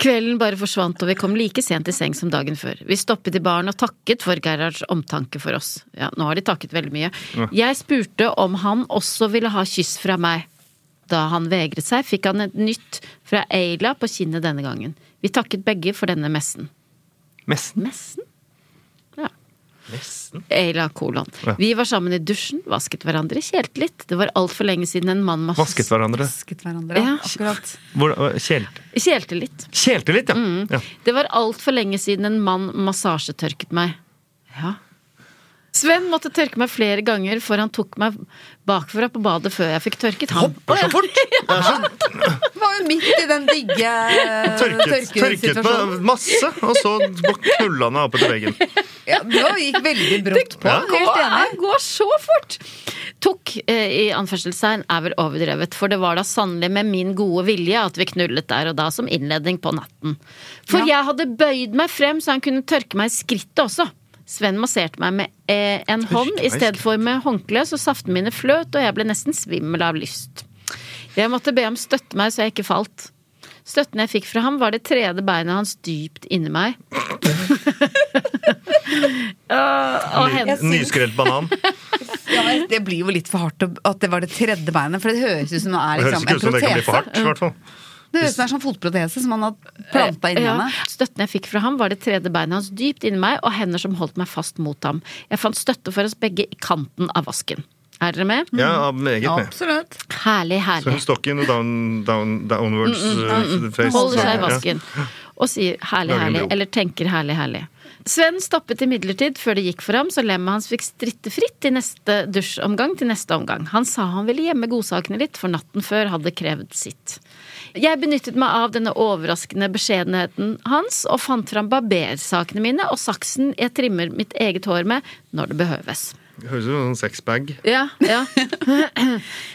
A: Kvelden bare forsvant, og vi kom like sent i seng som dagen før. Vi stoppet i baren og takket for Gerhards omtanke for oss. Ja, nå har de takket veldig mye. Jeg spurte om han også ville ha kyss fra meg. Da han vegret seg, fikk han et nytt fra Eila på kinnet denne gangen. Vi takket begge for denne messen.
D: Mesten.
A: Messen? Ja.
D: Mesten.
A: Eila kolon.
D: Ja.
A: Vi var sammen i dusjen, vasket hverandre, kjelte litt. Det var altfor lenge siden en mann mas-
D: Vasket hverandre.
C: Vasket hverandre.
A: Ja.
C: Akkurat.
D: Hvordan- kjelt-
A: Kjelte litt.
D: Kjelte litt, ja.
C: Mm.
D: ja.
A: Det var altfor lenge siden en mann massasjetørket meg. Ja. Sven måtte tørke meg flere ganger, for han tok meg bakfra på badet før jeg fikk tørket ham.
D: Hopper så
C: (laughs)
D: fort! Det er sånn så
C: Det var jo midt i den digge eh,
D: tørket, tørket
C: tørkesituasjonen.
D: meg masse, og så knulla han meg opp etter veggen.
C: Ja, det var- gikk veldig brått på.
D: Ja.
C: Helt enig.
A: Det går så fort! Tok eh, i anførselstegn er vel overdrevet, for det var da sannelig med min gode vilje at vi knullet der og da som innledning på natten. For jeg hadde bøyd meg frem så han kunne tørke meg i skrittet også. Sven masserte meg med eh, en hånd
D: meg i
A: i stedet for med håndkle, så saftene mine fløt, og jeg ble nesten svimmel av lyst. Jeg måtte be ham støtte meg så jeg ikke falt. Støtten jeg fikk fra ham, var det tredje beinet hans dypt inni meg. Og hen.
D: Ny-
C: (laughs)
D: Nyskrelt banan.
C: Liksom, Ja, men det blir jo litt for hardt å- at det var det tredje beinet. For det høres ut som det er
D: Det høres
C: liksom,
D: ikke
C: en
D: ut som det kan bli for
C: protese.
D: hardt. i hvert fall.
C: Det høres ut som det er sånn fotprotese som han har planta inn i
A: Ja,
C: henne.
A: Støtten jeg fikk fra ham, var det tredje beinet hans dypt inni meg, og hender som holdt meg fast mot ham. Jeg fant støtte for oss begge i kanten av vasken. Er dere
C: Mm.
A: med?
D: Ja, meget med.
C: Absolutt.
A: Herlig, herlig.
D: Så stokken og down, down, downwards
C: Mm,
D: eh, face.
A: Holder seg i
D: Ja.
A: vasken og sier 'herlig,
D: Lager en
A: herlig',
D: bro.
A: eller tenker 'herlig, herlig'. Sven stoppet imidlertid før det gikk for ham, så lemmet hans fikk stritte fritt i neste dusjomgang til neste omgang. Han sa han ville gjemme godsakene litt, for natten før hadde krevd sitt. Jeg benyttet meg av denne overraskende beskjedenheten hans, og fant fram barbersakene mine og saksen jeg trimmer mitt eget hår med når det behøves.
D: Høres ut som en sexbag.
A: Ja, ja.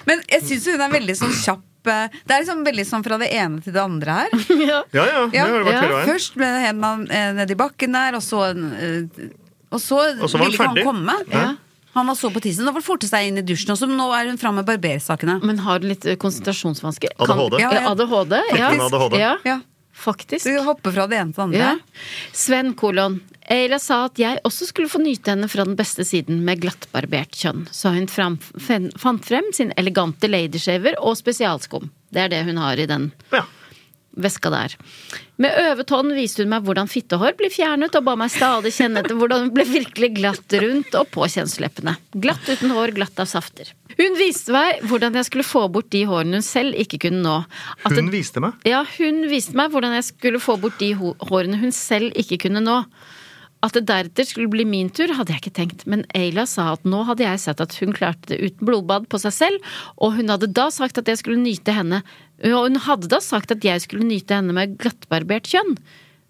C: Men jeg syns hun er veldig sånn kjapp eh, Det er liksom veldig sånn fra det ene til det andre (laughs) her.
D: Ja, ja, det har det vært
A: ja,
D: hele veien.
C: Først ble hendene nedi eh, bakken der, og så eh, Og så,
D: Og så
C: ville
D: var han
C: ikke han
D: ferdig.
C: komme.
D: Ja.
C: Han var så på tissen. Da var det forte seg inn i dusjen, og så nå er hun framme med barbersakene.
A: (laughs) Men har litt konsentrasjonsvansker.
D: ADHD.
A: Ja, ja. ADHD, ja.
D: Faktisk. ADHD.
A: Ja,
C: Ja.
A: faktisk.
C: Så vi hopper fra det ene til det
A: Ja.
C: andre.
A: Sven kolon. Eila sa at jeg også skulle få nyte henne fra den beste siden med glattbarbert kjønn, så hun fram, fen, fant frem sin elegante ladyshaver og spesialskum. Det er det hun har i den
D: Ja.
A: veska der. Med øvet hånd viste hun meg hvordan fittehår blir fjernet, og ba meg stadig kjenne etter hvordan hun ble virkelig glatt rundt og på kjønnsleppene. Glatt uten hår, glatt av safter. Hun viste meg hvordan jeg skulle få bort de hårene hun selv ikke kunne nå. At
D: Hun
A: det-
D: viste meg.
A: ja, hun viste meg hvordan jeg skulle få bort de ho- hårene hun selv ikke kunne nå. At det deretter skulle bli min tur, hadde jeg ikke tenkt, men Ayla sa at nå hadde jeg sett at hun klarte det uten blodbad på seg selv, og hun hadde da sagt at jeg skulle nyte henne Og hun hadde da sagt at jeg skulle nyte henne med glattbarbert kjønn.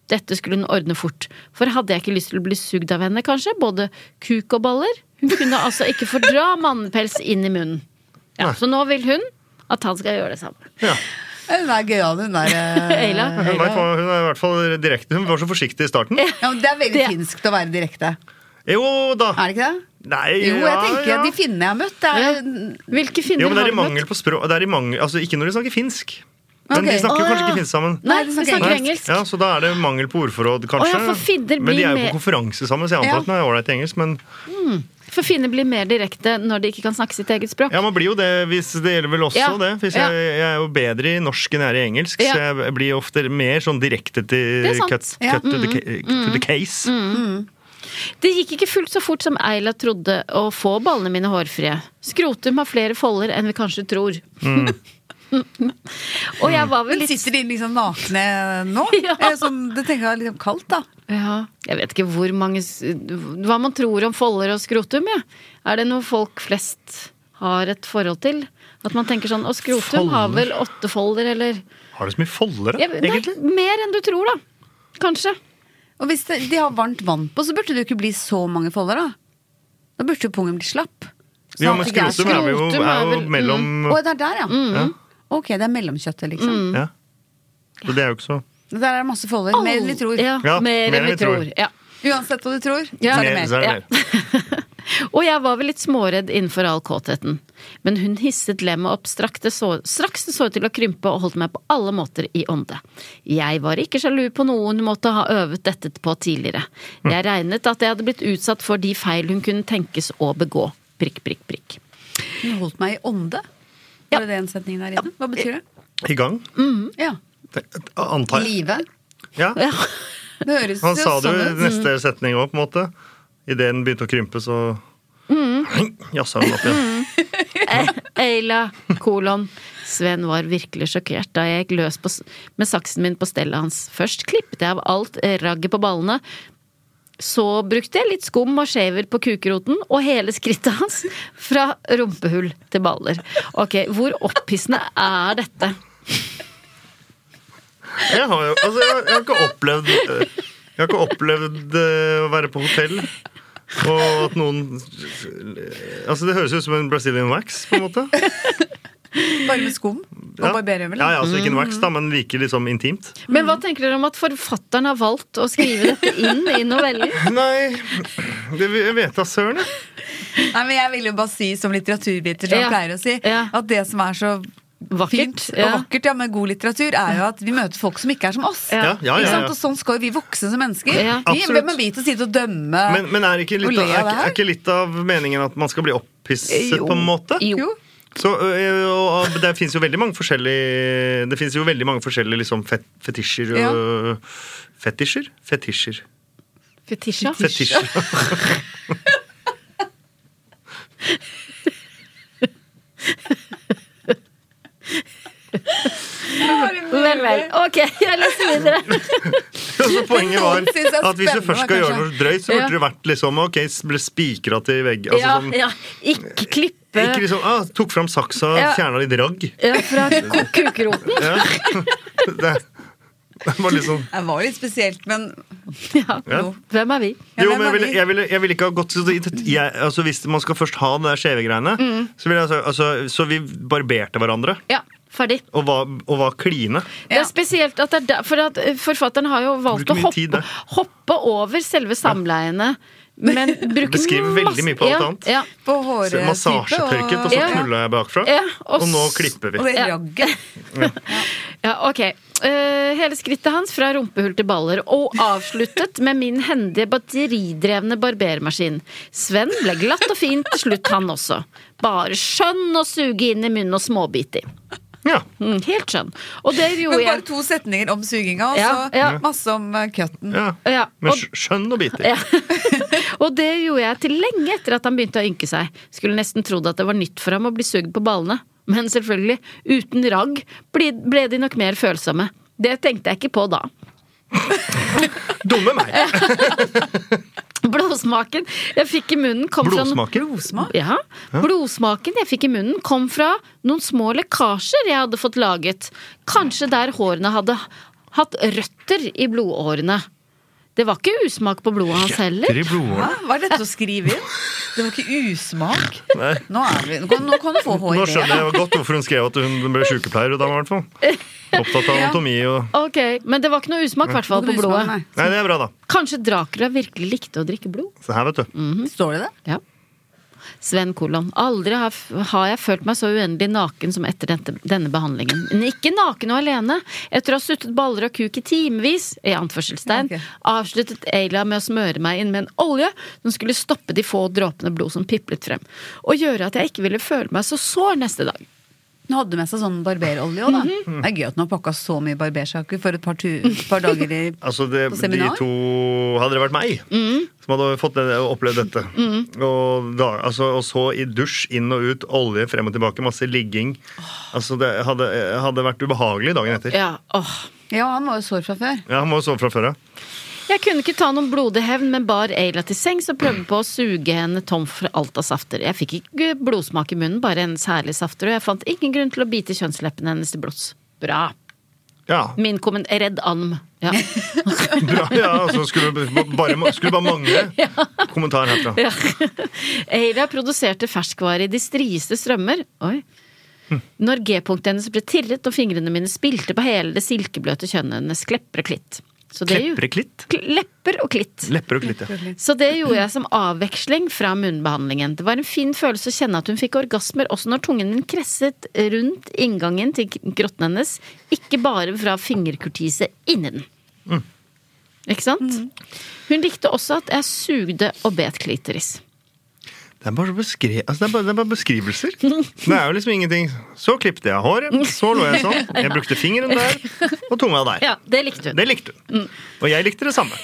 A: Dette skulle hun ordne fort, for hadde jeg ikke lyst til å bli sugd av henne, kanskje, både kuk og baller? Hun kunne altså ikke fordra mannepels inn i munnen. Ja, så nå vil hun at han skal gjøre det samme.
C: Hun er gøyal, hun der. eh.
A: Ayla,
D: Hun, vet hva- hun er i hvert fall direkte. Hun var så forsiktig i starten.
C: Ja, men det er veldig
A: Det-
C: finsk å være direkte.
D: Jo da!
C: Er det ikke det?
D: Nei,
C: Jo, jeg
D: ja,
C: tenker
D: ja.
C: at de finnene jeg har møtt, det er
A: Hvilke finner
D: Jo, men det
A: har du
D: er i
A: møtt?
D: mangel på språk det er i mangel, altså Ikke når de snakker finsk. Men
C: Ok.
D: de
A: Å,
D: snakker jo kanskje
A: ja.
D: ikke finsk sammen.
A: Nei, vi snakker
D: Nei.
A: engelsk.
D: Ja, Så da er det mangel på ordforråd, kanskje.
A: Å, ja, for finner
D: men de
A: blir
D: er jo
A: mer-
D: på konferanse sammen, så jeg
C: Ja.
D: antar at den er ålreit i engelsk. Men
A: For finner blir mer direkte når de ikke kan snakke sitt eget språk.
D: ja, man blir jo det hvis det gjelder vel også
A: Ja.
D: det. Hvis
A: Ja.
D: jeg, jeg er jo bedre i norsk enn jeg er i engelsk,
A: Ja.
D: så jeg blir ofte mer sånn direkte til
A: Det er sant. Mm,
D: cut, cut
C: Ja.
D: to, the, ca- to the case.
A: Det gikk ikke fullt så fort som Eila trodde å få ballene mine hårfrie. Skrotum har flere folder enn vi kanskje tror.
D: Mm.
A: (laughs) Og jeg var vel
C: Men
A: litt
C: sitter de liksom nakne nå?
A: (laughs) Ja.
C: Eh, Sånn, det tenker jeg er litt kaldt, da.
A: ja, Jeg vet ikke hvor mange s- Hva man tror om folder og skrotum, jeg. Er det noe folk flest har et forhold til? At man tenker sånn Å, skrotum har vel åtte folder, eller
D: Har du så mye foldere,
A: jeg, det
D: egentlig?
A: er Mer enn du tror, da. Kanskje.
C: Og hvis det, de har varmt vann på, så burde det jo ikke bli så mange folder, da. Da burde jo pungen bli slapp. Sånn
D: Ja,
C: at
D: men
C: det ikke er
D: skrotum er jo,
A: skrotum er
D: er jo
A: vel- mm.
D: mellom
C: Å, det er der, ja.
D: ja.
C: Ok, det er mellomkjøttet, liksom.
A: Mm.
D: ja. Så det er jo ikke så
C: Der er det masse folder. Mer enn vi tror.
A: Ja,
D: Ja,
A: mer enn vi tror. Ja.
C: Uansett hva du tror,
A: Ja.
C: så er det
D: Mer,
C: mer.
D: så er det
A: Ja.
D: mer.
A: Og jeg var vel litt småredd innenfor all kåtheten. Men hun hisset lemmet opp straks det, så, straks det så ut til å krympe og holdt meg på alle måter i ånde. Jeg var ikke sjalu på noe hun måtte ha øvet dette på tidligere. Jeg regnet at jeg hadde blitt utsatt for de feil hun kunne tenkes å begå. Prikk, prikk, prikk.
C: Hun holdt meg i ånde. Var det den setningen der inne? Hva betyr det?
D: I gang?
A: Mm.
C: Ja. I
D: Antar jeg.
C: live.
D: Ja.
A: Ja,
C: Det høres
D: (laughs) Han sa det jo i
C: sånn ut.
D: neste setning òg, på en måte. Idet den begynte å krympe, så
C: Mm.
D: (clears throat) jassa den opp igjen.
A: Eila, Eh, kolon. Sven var virkelig sjokkert da jeg gikk løs på, s- med saksen min på stellet hans. Først klippet jeg av alt ragget på ballene. Så brukte jeg litt skum og shaver på kukeroten og hele skrittet hans. Fra rumpehull til baller. Ok, hvor opphissende er dette?
D: Jeg har jo altså, jeg, har- jeg har ikke opplevd eh, Jeg har ikke opplevd eh, å være på hotell. Og at noen Altså Det høres ut som en Brazilian wax, på
C: (laughs)
D: en måte.
C: Bare med skum og
D: Ja.
C: barberhøvel. Mm.
D: Ja, ja, altså Ikke en wax, da, men like liksom intimt.
A: Men hva tenker dere om at forfatteren har valgt å skrive dette inn i noveller?
D: Nei, det jeg vet da søren. jeg.
C: Nei, men jeg vil jo bare si som litteraturviter, som
A: Ja.
C: jeg pleier å si,
A: Ja.
C: at det som er så
A: Vakkert.
C: fint
A: ja.
C: og vakkert ja, med god litteratur, er jo at vi møter folk som ikke er som oss.
D: Ja, ja, ja,
C: Ikke
D: ja.
C: sant? Og sånn skal jo vi vokse som mennesker.
A: Ja.
C: Vi,
D: Absolutt.
C: hvem er vi til å si til å dømme?
D: Men, men er, ikke
C: Og
D: litt,
C: le
D: av- er,
C: av det
D: ikke-
C: her?
D: er ikke litt av meningen at man skal bli opphisset, på en måte?
C: jo.
D: Så, ø, og, og det fins jo veldig mange forskjellige Det finnes jo veldig mange forskjellige liksom, fet, fetisjer og Fetisjer? Fetisjer.
A: Fetisja.
D: Fetisjer.
A: Vel, vel. Ok, jeg leser videre.
D: (laughs) Så poenget var
C: Synes jeg er
D: at hvis du først skal
C: spennende,
D: gjøre noe drøyt, så
A: Ja.
D: burde det vært liksom Ok, ble spikra til vegg altså,
A: ja,
D: sånn,
A: ja. Ikke klippe
D: Ikke liksom ah, Tok fram saksa,
A: Ja.
D: fjerna litt ragg. (laughs)
A: ja, fra ku- kukroten.
D: Ja. Det, det var liksom
C: Det var litt spesielt, men
A: (laughs) Ja.
D: ja.
A: Hvem er vi?
C: Ja,
D: Jo,
C: hvem
D: men jeg
C: er
D: ville,
C: vi?
D: jeg, ville, jeg ville ikke ha gått så dit- jeg, altså, Hvis man skal først ha det der skjeve greiene, så, ville jeg, altså- altså, så vi barberte hverandre
A: Ja, ferdig.
D: og var, og var kline.
A: Det er spesielt at det er der, for at eh, forfatteren har jo valgt
D: Bruker
A: å
D: mye tid
A: hoppe,
D: der.
A: hoppe over selve samleiene,
D: (laughs)
A: men bruker
D: Beskriver veldig
A: masse-
D: mye på alt
A: ja,
D: annet.
A: Ja,
C: på håret
D: Massasjetørket, og så
A: Ja.
D: knulla jeg bakfra.
A: eh, Ja, og
D: og, nå
A: s-
D: klipper vi.
C: Og det
A: Ja.
C: ragget.
A: Ja, ok. Eh, hele skrittet hans fra rumpehull til baller, og
D: (laughs)
A: avsluttet med min hendige batteridrevne barbermaskin. Sven ble glatt og fin til slutt, han også. Bare skjønn å suge inn i munnen og småbite i.
D: Ja.
A: Mm, helt skjønn. Og det gjorde
C: Men bare
A: jeg.
C: to setninger om suginga, og
A: Ja,
C: så
A: ja.
C: masse om eh, cutten.
D: Ja.
A: Ja,
D: Men
A: og,
D: skj- skjønn og biter.
A: ja. og det gjorde jeg til lenge etter at han begynte å ynke seg. Skulle nesten trodd at det var nytt for ham å bli sugd på ballene. Men selvfølgelig, uten ragg ble, ble de nok mer følsomme. Det tenkte jeg ikke på da.
D: Dumme meg!
A: sånn, Blodsmaken jeg fikk i munnen kom
D: Blodsmaker.
A: fra ja, Blodsmaken jeg fikk i munnen kom fra noen små lekkasjer jeg hadde fått laget. Kanskje der hårene hadde hatt røtter i blodårene. Det var ikke usmak på blodet hans heller.
D: Røtter i blodårene.
C: Hæ? Hva er dette å skrive inn? Det var ikke usmak. Nå, er vi, nå, kan, nå kan du få
D: Nå
C: HIV.
D: skjønner jeg godt hvorfor hun skrev at hun ble sykepleier. Og da var i hvert
A: (laughs)
D: fall opptatt av anatomi og
A: Ok, Men det var ikke noe usmak i hvert fall på blodet.
D: Nei, det er bra, da.
A: Kanskje Dracula virkelig likte å drikke blod?
D: Se her, vet du.
C: Står det det?
A: Ja. Sven Kolon. Aldri har, har jeg følt meg så uendelig naken som etter dette, denne behandlingen. Men ikke naken og alene. Etter å ha suttet baller og kuk i timevis, i anførselstegn,
C: Ja, ok.
A: avsluttet Ayla med å smøre meg inn med en olje som skulle stoppe de få dråpene blod som piplet frem, og gjøre at jeg ikke ville føle meg så sår neste dag.
C: Hun hadde med seg sånn barberolje òg, da. Det er gøy at hun har pakka så mye barbersaker for et par, tu, par dager i (laughs)
D: Altså, det,
C: På
D: de
C: seminar?
D: to Hadde det vært meg
A: Mm.
D: som hadde fått det, opplevd dette og, da, altså, og så i dusj, inn og ut, olje frem og tilbake, masse ligging Altså, det hadde, hadde vært ubehagelig dagen etter.
A: Ja, åh.
C: Ja, han var jo sår fra før.
D: Ja, Han må jo sove fra før av.
A: Jeg kunne ikke ta noen blodig hevn, men bar Ayla til sengs og prøvde på å suge henne tom for alt av safter. Jeg fikk ikke blodsmak i munnen, bare hennes herlige safter, og jeg fant ingen grunn til å bite kjønnsleppene hennes til blods. Bra.
D: Ja,
A: (laughs) Min komment Redd and. Ja.
D: bra, ja altså, skulle, bare, skulle bare
A: (laughs)
D: mangle kommentar herfra.
A: Ja. Ayla produserte ferskvare i de strieste strømmer. Oi. Når G-punktet hennes ble tirret og fingrene mine spilte på hele det silkebløte kjønnet hennes, klepper og klitt. Så det er jo-
D: Klepreklitt?
A: Kl- Lepper og klitt.
D: Lepper og klitt, ja.
A: Så det gjorde jeg som avveksling fra munnbehandlingen. Det var en fin følelse å kjenne at hun fikk orgasmer også når tungen min kresset rundt inngangen til grotten hennes, ikke bare fra fingerkurtise inni den. Ikke sant? Hun likte også at jeg sugde og bet klitoris.
D: Det er bare, beskri altså, det er bare, det er bare beskrivelser.
A: (laughs)
D: Det er jo liksom ingenting. Så klippte jeg håret, så lå jeg sånn. Jeg brukte fingeren der, og tunga der.
A: Ja, det likte hun. Mm.
D: Det likte hun. Og jeg likte det
A: (laughs)
D: samme.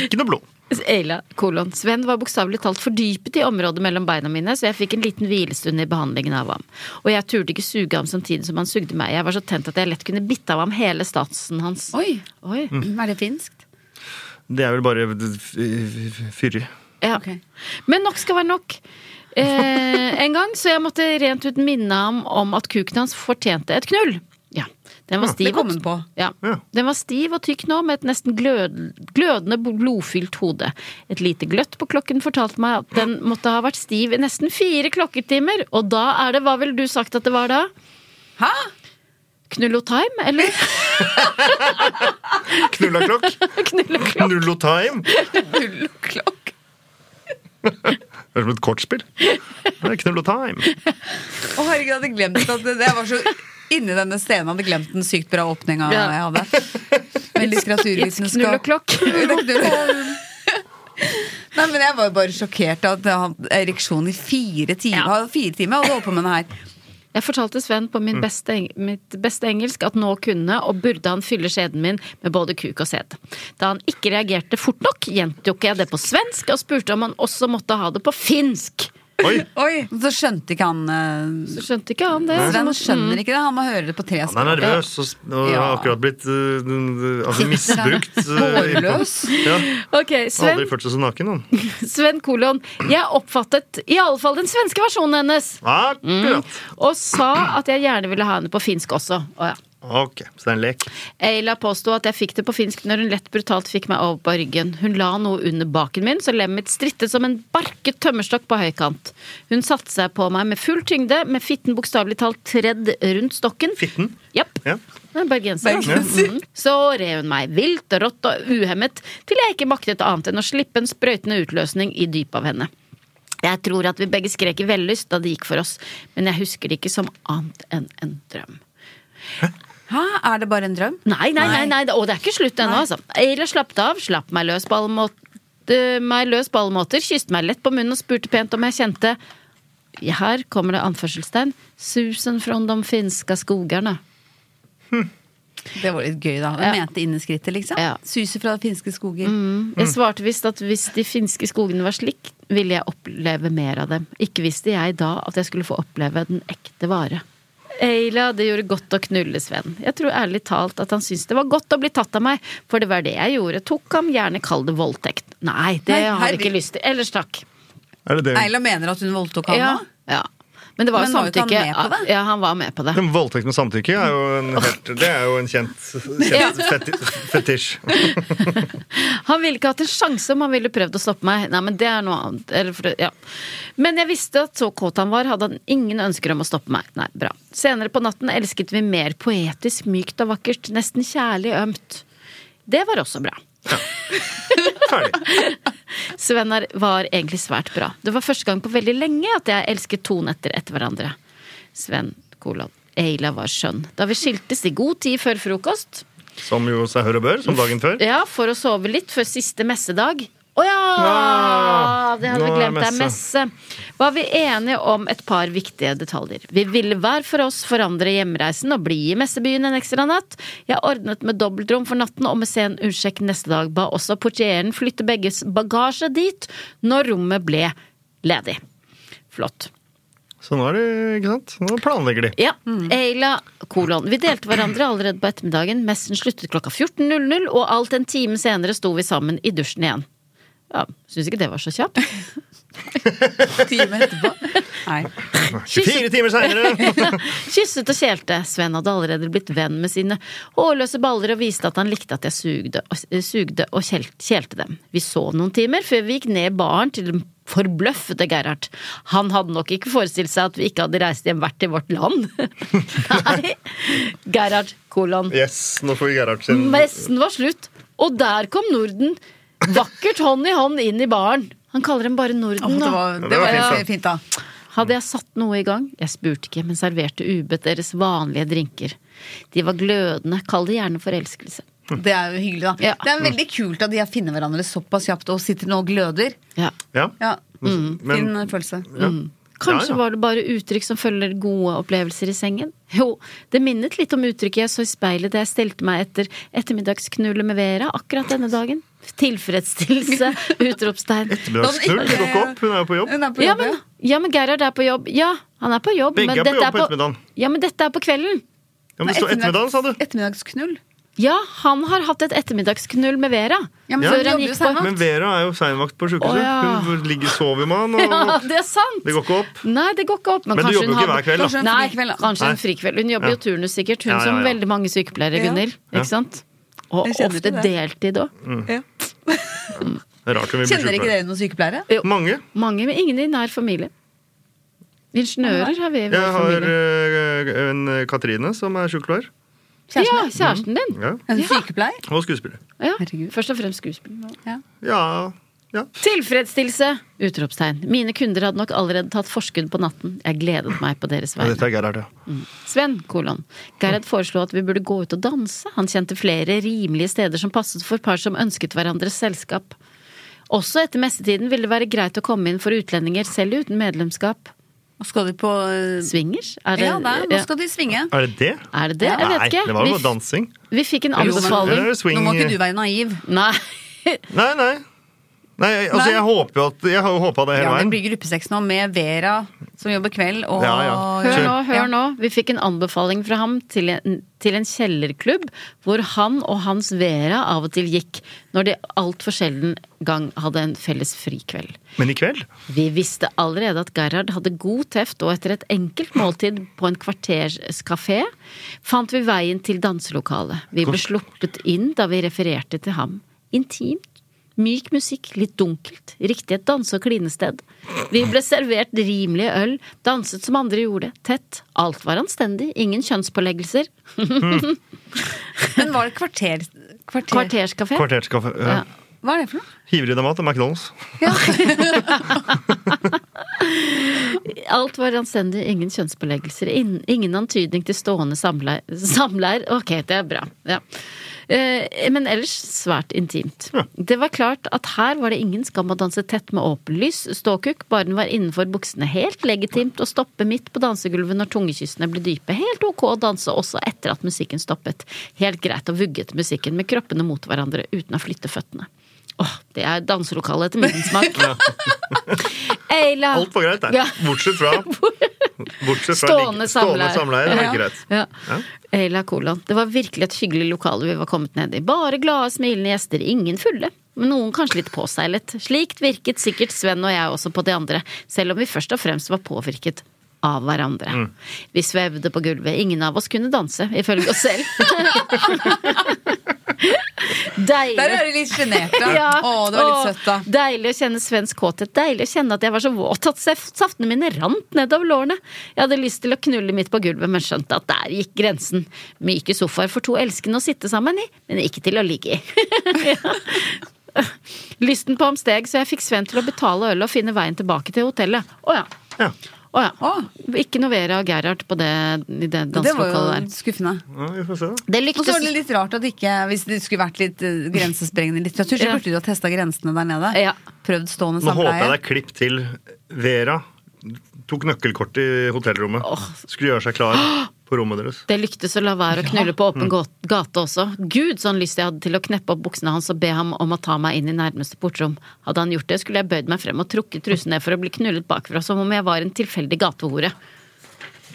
D: Ikke noe blod.
A: Eila, kolon. Sven var bokstavelig talt fordypet i området mellom beina mine, så jeg fikk en liten hvilestund i behandlingen av ham. Og jeg turde ikke suge ham samtidig som han sugde meg. Jeg var så tent at jeg lett kunne bitte av ham hele statsen hans.
C: Oi!
A: Oi.
C: Er det finskt?
D: Det er vel bare f- f- fyrig.
A: Ja.
C: Ok.
A: Men nok skal være nok. Eh, en gang, så jeg måtte rent ut minne ham om at kuken hans fortjente et knull. Ja, den var stiv
C: Det kom
A: og-
C: hun på.
A: Ja.
D: Ja.
A: Den var stiv og tykk nå, med et nesten glød, glødende blodfylt hode. Et lite gløtt på klokken fortalte meg at den måtte ha vært stiv i nesten fire klokketimer. Og da er det Hva ville du sagt at det var da?
C: Hæ?
A: Knullotime, eller? (laughs)
D: Knullaklokk.
A: Knulloklokk.
D: Nullotime.
C: Null og klokk.
D: Det er som et kortspill. Knull og time.
C: Å, herregud, jeg hadde glemt at det, jeg var så inni denne scenen. Hadde glemt den sykt bra åpninga
A: Ja.
C: jeg hadde. Med
A: Knull og
C: litteraturvitenskap.
A: klokk.
C: Det er (laughs) knull. Nei, men jeg var jo bare sjokkert at han hadde ereksjon i fire timer.
A: Ja.
C: Han hadde Fire timer og holdt på med det her.
A: Jeg fortalte Sven på min beste, eng- mitt beste engelsk at nå kunne og burde han fylle skjeden min med både kuk og sæd. Da han ikke reagerte fort nok, gjentok jeg det på svensk og spurte om han også måtte ha det på finsk.
D: Oi,
C: Oi, Så skjønte ikke han eh,
A: Så skjønte ikke han det.
C: Sven skjønner ikke det. Han må høre det på tre
D: han er
C: språk.
D: nervøs og, s- og har
C: Ja.
D: akkurat blitt eh,
A: (laughs)
D: altså, misbrukt. eh, innpå.
C: Hårløs.
D: Ja,
A: Ok,
D: han har
A: Sven,
D: aldri følt seg så naken, han.
A: Sven Kolon. Jeg oppfattet i alle fall den svenske versjonen hennes.
D: Akkurat.
A: Og sa at jeg gjerne ville ha henne på finsk også. Å, ja.
D: Ok, så det er en lek.
A: Eila påsto at jeg fikk det på finsk når hun lett brutalt fikk meg over på ryggen. Hun la noe under baken min, så lemmet mitt strittet som en barket tømmerstokk på høykant. Hun satte seg på meg med full tyngde, med fitten bokstavelig talt tredd rundt stokken.
D: Fitten?
A: Japp.
D: Ja.
A: Det er Bergenser.
C: Bergenser.
A: Mm. Så rev hun meg vilt og rått og uhemmet til jeg ikke maktet annet enn å slippe en sprøytende utløsning i dypet av henne. Jeg tror at vi begge skrek i vellyst da det gikk for oss, men jeg husker det ikke som annet enn en drøm.
C: Hæ, er det bare en drøm?
A: Nei, nei, nei, nei. det- Å, det er ikke slutt ennå, altså. Eila slapp det av, slapp meg løs på alle måter, meg løs på alle måter kysset meg lett på munnen og spurte pent om jeg kjente Her kommer det anførselstegn. Susen fra de finska skogarna.
C: Det var litt gøy, da. Han
A: Ja.
C: mente inn i skrittet, liksom.
A: Ja. Mm.
C: Suser fra finske skoger.
A: Jeg svarte visst at hvis de finske skogene var slik, ville jeg oppleve mer av dem. Ikke visste jeg da at jeg skulle få oppleve den ekte vare. Eila, det gjorde godt å knulle Sven. Jeg tror ærlig talt at han syntes det var godt å bli tatt av meg, for det var det jeg gjorde. Tok ham gjerne kall det voldtekt. Nei, det
C: Nei,
A: har jeg
C: herregud.
A: ikke lyst til. Ellers takk.
D: Er det det?
C: Eila mener at hun voldtok han
A: Ja.
C: nå.
A: ja. Men det var jo
C: Men var ikke han
A: samtykke.
C: med på det?
A: Ja, han var med på det.
D: Men Voldtekt med samtykke er jo en, helt, det er jo en kjent, kjent feti, fetisj.
A: Han ville ikke hatt en sjanse om han ville prøvd å stoppe meg. Nei, Men det er noe annet. Eller for, ja. Men jeg visste at så kåt han var, hadde han ingen ønsker om å stoppe meg. Nei, bra. Senere på natten elsket vi mer poetisk, mykt og vakkert. Nesten kjærlig ømt. Det var også bra.
D: Ferdig.
A: Sven er- var egentlig svært bra. Det var første gang på veldig lenge at jeg elsket to netter etter hverandre. Sven, kolon. Eila var skjønn. Da vi skiltes i god tid før frokost,
D: Som jo seg hør og bør, som dagen før.
A: Ja, for å sove litt før siste messedag. Å ja!
D: Ah,
A: Det hadde
D: nå
A: vi
D: er det
A: glemt. Det er messe. Var vi enige om et par viktige detaljer. Vi ville hver for oss forandre hjemreisen og bli i messebyen en ekstra natt. Jeg ordnet med dobbeltrom for natten og med sen utsjekk neste dag. Ba også portieren flytte begges bagasje dit når rommet ble ledig. Flott.
D: Så nå er det, ikke sant? Nå planlegger de.
A: Ja. Eila, kolon. Vi delte hverandre allerede på ettermiddagen. Messen sluttet klokka 14.00, og alt en time senere sto vi sammen i dusjen igjen. Ja, Syns ikke det var så kjapt.
C: Time etterpå. Nei.
D: 24 timer seinere!
A: Kysset og kjelte. Sven hadde allerede blitt venn med sine hårløse baller og viste at han likte at jeg sugde og, eh, sugde og kjel- kjelte dem. Vi sov noen timer før vi gikk ned i baren til den forbløffede Gerhard. Han hadde nok ikke forestilt seg at vi ikke hadde reist hjem hvert til vårt land. (laughs) Nei. Gerhard, kolon.
D: Yes, nå får vi Gerhard sin.
A: Messen var slutt, og der kom Norden vakkert hånd i hånd inn i baren. Han kaller dem bare
C: Åh,
A: Norden,
C: det
A: da.
C: var,
D: Det
C: det
D: var
C: var
D: fint, da.
C: fint, fint, da.
A: Hadde jeg satt noe i gang? Jeg spurte ikke, men serverte ubedt deres vanlige drinker. De var glødende, kall det gjerne forelskelse.
C: Det er jo hyggelig, da.
A: Ja.
C: Det er veldig kult at de har funnet hverandre såpass kjapt og sitter nå og gløder.
A: Ja.
D: Ja.
C: Ja,
A: Mm,
C: Fin eh,
D: Men,
C: følelse.
D: ja.
A: Kanskje
D: Ja, ja.
A: var det bare uttrykk som følger gode opplevelser i sengen? Jo, det minnet litt om uttrykket jeg så i speilet da jeg stelte meg etter ettermiddagsknullet med Vera akkurat denne dagen. Tilfredsstillelse!
C: (laughs)
A: Utropstegn.
D: Ettermiddagsknull det går ikke opp, hun er jo på jobb.
C: Hun er på
A: Ja
C: jobb,
A: men, ja, men Gerhard er på jobb. Ja, han er på jobb.
D: Begge
A: men
D: er på
A: dette
D: jobb på ettermiddagen.
A: Ja, men dette er på kvelden.
D: Ja, men det står ettermiddagen, sa du.
C: Ettermiddagsknull.
A: Ja, han har hatt et ettermiddagsknull med Vera.
C: Ja, men
D: Ja.
C: hun
A: Før han
C: jobber
A: gikk
C: jo
A: på-
C: seinvakt.
D: Men Vera er jo seinvakt på
A: Å,
D: sjukehuset.
A: ja.
D: Hun ligger sover med han,
A: (laughs) Ja,
D: og
A: det er sant!
D: det går ikke opp.
A: Nei, det går ikke opp.
D: Men du
A: kanskje
D: jobber
A: hun
D: jo ikke
A: hadde-
D: hver kveld, da.
C: Kanskje en
A: Nei,
C: frikveld, da.
A: kanskje en
D: Nei.
A: frikveld. Hun jobber jo turnus sikkert, hun
D: Ja, ja,
A: som
D: ja.
A: veldig mange sykepleiere,
C: Ja.
A: Gunhild.
D: Ja.
A: Ikke sant? Og
C: Jeg kjenner
A: ofte
C: til det.
A: deltid òg.
D: Det er rart hun
C: Kjenner ikke
D: vil bli sjukepleier.
C: dere noen sykepleiere?
D: Mange.
A: Mange, men ingen i nær familie. Ingeniører har vi i vår
D: Jeg har
A: familie.
D: øh, en Katrine som er sjukepleier.
A: Ja, kjæresten din.
D: Mm. Ja.
C: En sykepleier?
D: Og skuespiller.
A: Ja.
C: Herregud.
A: Først og fremst skuespiller.
D: Ja Ja.
A: Tilfredsstillelse! Utropstegn. Mine kunder hadde nok allerede tatt forskudd på natten. Jeg gledet meg på deres
D: Ja,
A: vegne.
D: Dette er Gerhard, ja.
A: Sven, kolon. Gerhard foreslo at vi burde gå ut og danse. Han kjente flere rimelige steder som passet for par som ønsket hverandres selskap. Også etter messetiden ville det være greit å komme inn for utlendinger selv uten medlemskap.
C: Nå skal de på eh,
A: Swingers? Er det
C: Ja, nei, nå skal de svinge.
D: Er det det?
A: Er det det? Jeg vet
D: Nei,
A: ikke.
D: det var jo
A: Vi-
D: bare dansing.
A: Vi fikk en
D: Eller-
A: anbefaling.
D: eller er det swing-
C: Nå må ikke du være naiv.
A: Nei.
D: Nei, nei. Nei, jeg- altså
C: Nei.
D: Jeg håper jo at Jeg har jo håpa det hele
C: Ja, det
D: veien.
C: blir gruppesex nå med Vera, som jobber kveld, og
D: Ja, ja.
A: Hør
D: Kjør.
A: nå,
C: Ja.
A: hør nå. Vi fikk en anbefaling fra ham til en, til en kjellerklubb hvor han og hans Vera av og til gikk når de altfor sjelden gang hadde en felles frikveld.
D: Men i kveld?
A: Vi visste allerede at Gerhard hadde god teft, og etter et enkelt måltid på en kvarters kafé fant vi veien til danselokalet. Vi ble sluppet inn da vi refererte til ham. Intimt. Myk musikk, litt dunkelt, riktig et danse- og klinested. Vi ble servert rimelig øl, danset som andre gjorde, tett, alt var anstendig, ingen kjønnspåleggelser.
C: (laughs) Men var det kvarter, kvarter,
A: Kvarterskafé.
D: Kvarterskaffe? Ja.
A: Ja.
C: Hva er det for noe?
D: Hiver i deg mat og McDonald's?
A: Alt var anstendig, ingen kjønnsbeleggelser, ingen, ingen antydning til stående samleir. samleir. Ok, det er bra. Ja. Eh, Men ellers svært intimt. Det var klart at her var det ingen skam å danse tett med åpen lys, ståkukk, bare den var innenfor buksene. Helt legitimt å stoppe midt på dansegulvet når tungekyssene ble dype. Helt ok å danse også etter at musikken stoppet. Helt greit å vugge til musikken med kroppene mot hverandre uten å flytte føttene. Åh, det er danselokale etter min smak. Eila!
D: Alt var greit der.
A: Ja.
D: Bortsett
A: (laughs)
D: fra Bortsett fra
A: Stående
D: ligge- stående
A: samleie.
D: samleie. Det var
A: Ja.
D: greit.
A: Ja. Eila Kolan. Det var virkelig et hyggelig lokale vi var kommet ned i. Bare glade, smilende gjester. Ingen fulle. Men noen kanskje litt påseilet. Slikt virket sikkert Sven og jeg også på de andre, selv om vi først og fremst var påvirket av hverandre. Vi svevde på gulvet. Ingen av oss kunne danse, ifølge oss selv. Deilig.
C: Der er de litt sjenerte.
A: (laughs) Ja.
C: Å, det var litt
A: Åh,
C: søtt, da.
A: Deilig å kjenne svensk kåthet. Deilig å kjenne at jeg var så våt at sef- saftene mine rant nedover lårene. Jeg hadde lyst til å knulle midt på gulvet, men skjønte at der gikk grensen. Myke sofaer for to elskende å sitte sammen i, men ikke til å ligge i. (laughs) Ja. Lysten på ham steg, så jeg fikk Sven til å betale ølet og finne veien tilbake til hotellet. Å ja.
D: Ja.
A: Å ja.
C: Å.
A: Ikke noe Vera og Gerhard på det, i det
C: Det var jo
A: danselokalet der.
C: skuffende.
D: Ja, vi får se. da.
A: Det
C: Og så var
A: lyktes
C: det litt rart at ikke, hvis det skulle vært litt eh, grensesprengende litteratur, så
A: Ja.
C: burde du ha testa grensene der nede.
A: Ja.
C: Prøvd stående
D: Nå håper jeg
C: samleie.
D: det er klipp til Vera tok nøkkelkort i hotellrommet. Skulle gjøre seg klar
A: (gasps)
D: på rommet deres.
A: Det lyktes å la være å knulle på åpen gå- gate også. Gud, sånn lyst jeg hadde til å kneppe opp buksene hans og be ham om å ta meg inn i nærmeste portrom. Hadde han gjort det, skulle jeg bøyd meg frem og trukket trusen ned for å bli knullet bakfra, som om jeg var en tilfeldig gatehore.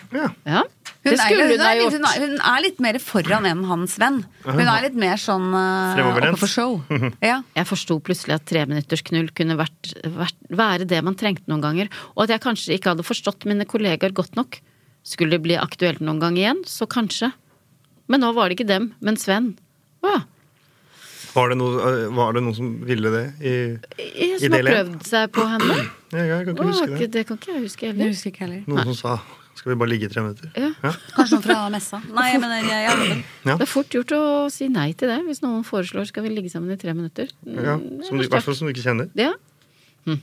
D: Ja.
A: Ja,
C: Hun
A: det
C: er,
A: skulle
C: hun,
A: hun ha
C: er, litt- hun, er,
A: gjort.
C: hun er litt mer foran enn hans venn. Hun er litt mer sånn eh,
D: Fremoverlent.
C: oppe for show.
D: Mhm.
C: Ja.
A: Jeg forsto plutselig at treminuttersknull kunne vært, vært, være det man trengte noen ganger, og at jeg kanskje ikke hadde forstått mine kollegaer godt nok. Skulle det bli aktuelt noen gang igjen, så kanskje. Men nå var det ikke dem, men Sven. Å ja.
D: Var, det noe, eh, var det noen som ville det? I,
A: Som har
D: Ideell, ja.
A: prøvd seg på henne.
D: ja, jeg kan ikke
A: Å,
D: huske
A: ikke-
D: det.
A: det kan ikke jeg huske
C: Jeg
A: heller.
C: husker ikke heller.
D: Noen som sa 'skal vi bare ligge i tre minutter'?
A: Ja.
C: Kanskje noen fra messa. Nei, jeg mener, jeg, jeg,
A: Det er fort gjort å si nei til det hvis noen foreslår skal vi ligge sammen i tre minutter. Mm,
D: Ja,
A: det er
D: som du, I
A: verst, ja.
D: hvert fall Hm. som du ikke kjenner.
A: Ja. Hm.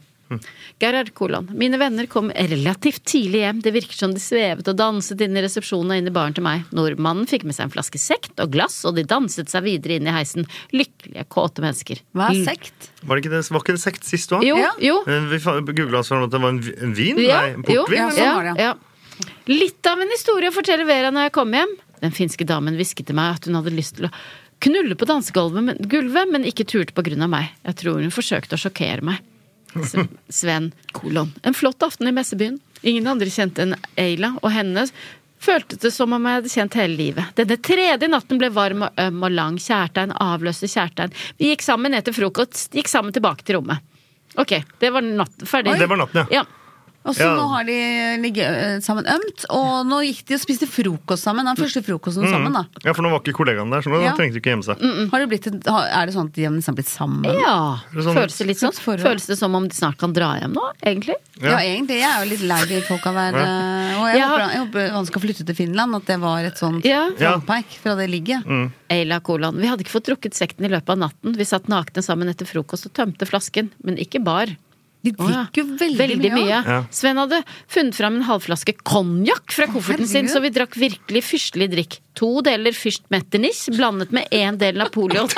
A: Gerhard Koland. Mine venner kom relativt tidlig hjem. Det virker som de svevet og danset inn i resepsjonen og inn i baren til meg. Nordmannen fikk med seg en flaske sekt og glass, og de danset seg videre inn i heisen. Lykkelige, kåte mennesker.
C: hva er
A: Mm.
C: sekt?
D: Var det ikke, det, var ikke det sekt sist du var?
A: Jo,
C: Ja.
A: jo.
D: Eh, Vi googla oss fram at det var en vi- en vin?
A: Ja,
D: Nei, en
A: jo,
D: portvin?
C: Ja,
D: eller?
C: sånn var det,
A: ja. Litt av en historie å fortelle Vera når jeg kom hjem. Den finske damen hvisket til meg at hun hadde lyst til å knulle på dansegulvet, men, gulvet, men ikke turte på grunn av meg. Jeg tror hun forsøkte å sjokkere meg. S- Sven kolon. En flott aften i messebyen. Ingen andre kjente enn Eila og henne. Føltes det som om jeg hadde kjent hele livet. Denne tredje natten ble varm og øm og lang. Kjærtegn avløste kjærtegn. Vi gikk sammen etter frokost, gikk sammen tilbake til rommet. Ok, det var natten. Ferdig.
D: Oi. Det var natten, ja.
A: ja.
C: Og så
D: Ja.
C: nå har de ligget eh, sammen ømt, og nå gikk de og spiste frokost sammen. Den første
D: Mm.
C: frokosten sammen, da.
D: Ja, for nå var ikke kollegaen der, så nå
C: Ja.
D: trengte du ikke gjemme seg.
A: Mm.
C: Har det blitt, et- har- er det sånn at de har liksom blitt sammen?
A: Ja.
D: det sånn-
A: føles det litt sånn?
C: Slags forhold.
A: Føles det som om de snart kan dra hjem nå, egentlig?
C: Ja, egentlig. Jeg er jo litt lei de folka der. eh, Og Og jeg,
A: Jeg har-
C: håper, jeg håper han skal flytte til Finland, at det var et sånt
A: Ja.
D: Ja. Mm.
C: fallback fra det ligget.
A: Eila Kolan, vi hadde ikke fått drukket sekten i løpet av natten. Vi satt nakne sammen etter frokost og tømte flasken, men ikke bar.
C: De drikker jo veldig, mye.
D: Ja.
A: Sven hadde funnet fram en halvflaske konjakk fra kofferten sin,
C: herregud.
A: så vi drakk virkelig fyrstelig drikk. To deler Fürst Metternich blandet med én del Napoleon.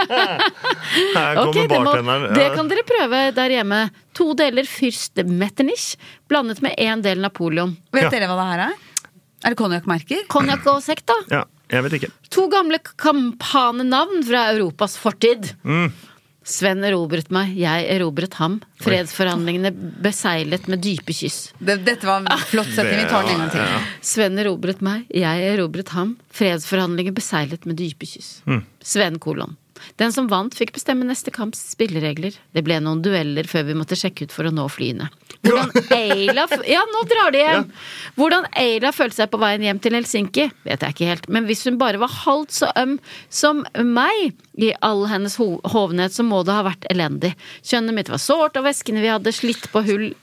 D: Her kommer
A: Ok, det, må,
D: bartenderen.
A: det
D: Ja.
A: kan dere prøve der hjemme. To deler Fürst Metternich blandet med én del Napoleon.
C: Vet
D: Ja.
C: dere hva det her er? Er det konjakkmerker?
A: Konjakk og sekt, da?
D: ja, jeg vet ikke.
A: To gamle kampanenavn fra Europas fortid. Sven erobret meg, jeg erobret ham. Fredsforhandlingene beseilet med dype kyss.
C: Det, dette var en flott setning. Vi tar den en gang til.
A: Sven erobret meg, jeg erobret ham. Fredsforhandlinger beseilet med dype kyss. Sven kolon. Den som vant, fikk bestemme neste kamps spilleregler. Det ble noen dueller før vi måtte sjekke ut for å nå flyene.
D: (laughs)
A: Hvordan Eila f- Ja, nå drar de hjem! Hvordan Eila følte seg på veien hjem til Helsinki, vet jeg ikke helt. Men hvis hun bare var halvt så øm som meg, i all hennes ho hovnhet, så må det ha vært elendig. Kjønnet mitt var sårt, og væskene vi hadde, slitt på hull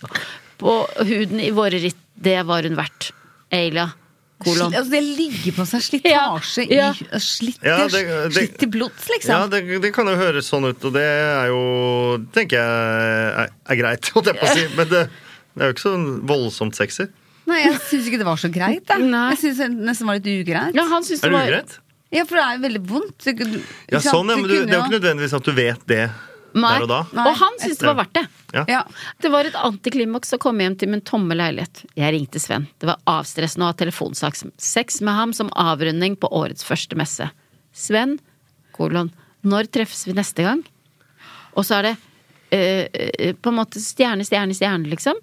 A: på huden i våre ritt. Det var hun verdt. Eila. Kolon.
C: Altså, det ligger på seg slitasje
A: Ja,
C: i slitt,
D: Ja, det- det-
C: slitt i blods,
D: Ja,
C: liksom.
D: det, det kan jo høres sånn ut, og det er jo tenker jeg er, er greit, holdt jeg på å si. Men det, det er jo ikke så voldsomt sexy.
C: Nei, jeg syns ikke det var så greit. Da.
A: Nei.
C: Jeg syns det nesten var litt ugreit.
A: Ja, han syntes det
D: Er det
A: var
D: ugreit?
C: Ja, for det er jo veldig vondt. Du- du-
D: Ja,
C: ikke sant?
D: sånn, ja, men du,
C: kunne
D: det er jo ikke nødvendigvis at du vet det
A: Nei.
D: der og da.
C: Nei.
A: Og han syntes det var verdt det.
C: Ja.
A: Det var et antiklimaks å komme hjem til min tomme leilighet. Jeg ringte Sven. Det var avstressende å ha telefonsaks. Sex med ham som avrunding på årets første messe. Sven, kolon, når treffes vi neste gang? Og så er det eh, eh, på en måte stjerne, stjerne, stjerne, liksom.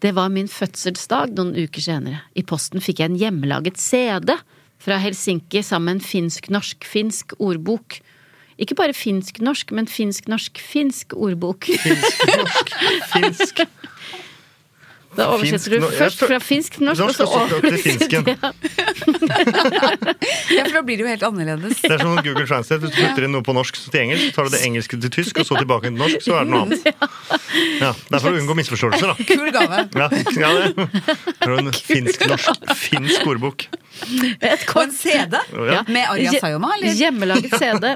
A: Det var min fødselsdag noen uker senere. I posten fikk jeg en hjemmelaget CD fra Helsinki sammen med en finsk-norsk-finsk ordbok. Ikke bare finsk-norsk, men finsk-norsk-finsk ordbok. (laughs)
D: Finsk.
A: Da (laughs) oversetter du
D: Finsk- nå-
A: først
D: jeg føl-
A: fra finsk til norsk,
D: Norsk,
A: og så
D: og så opp til
A: oversetter
D: finsken.
A: du- Ja.
C: Ja, for da blir det jo helt annerledes.
D: Det er som Google Translate. Du putter inn noe på norsk så til engelsk, så tar du det engelske til tysk, og så tilbake til norsk, så er det noe annet. Ja, Det er for å unngå misforståelser, da.
C: Kul gave.
D: Ja, ja
A: (laughs)
D: det. det er jo en finsk-norsk finsk ordbok.
A: Et
C: Og
A: kort
C: en CD
D: Ja.
C: med Arja
A: Hje-
C: Sayoma, eller?
A: Hjemmelaget
C: (laughs)
A: CD.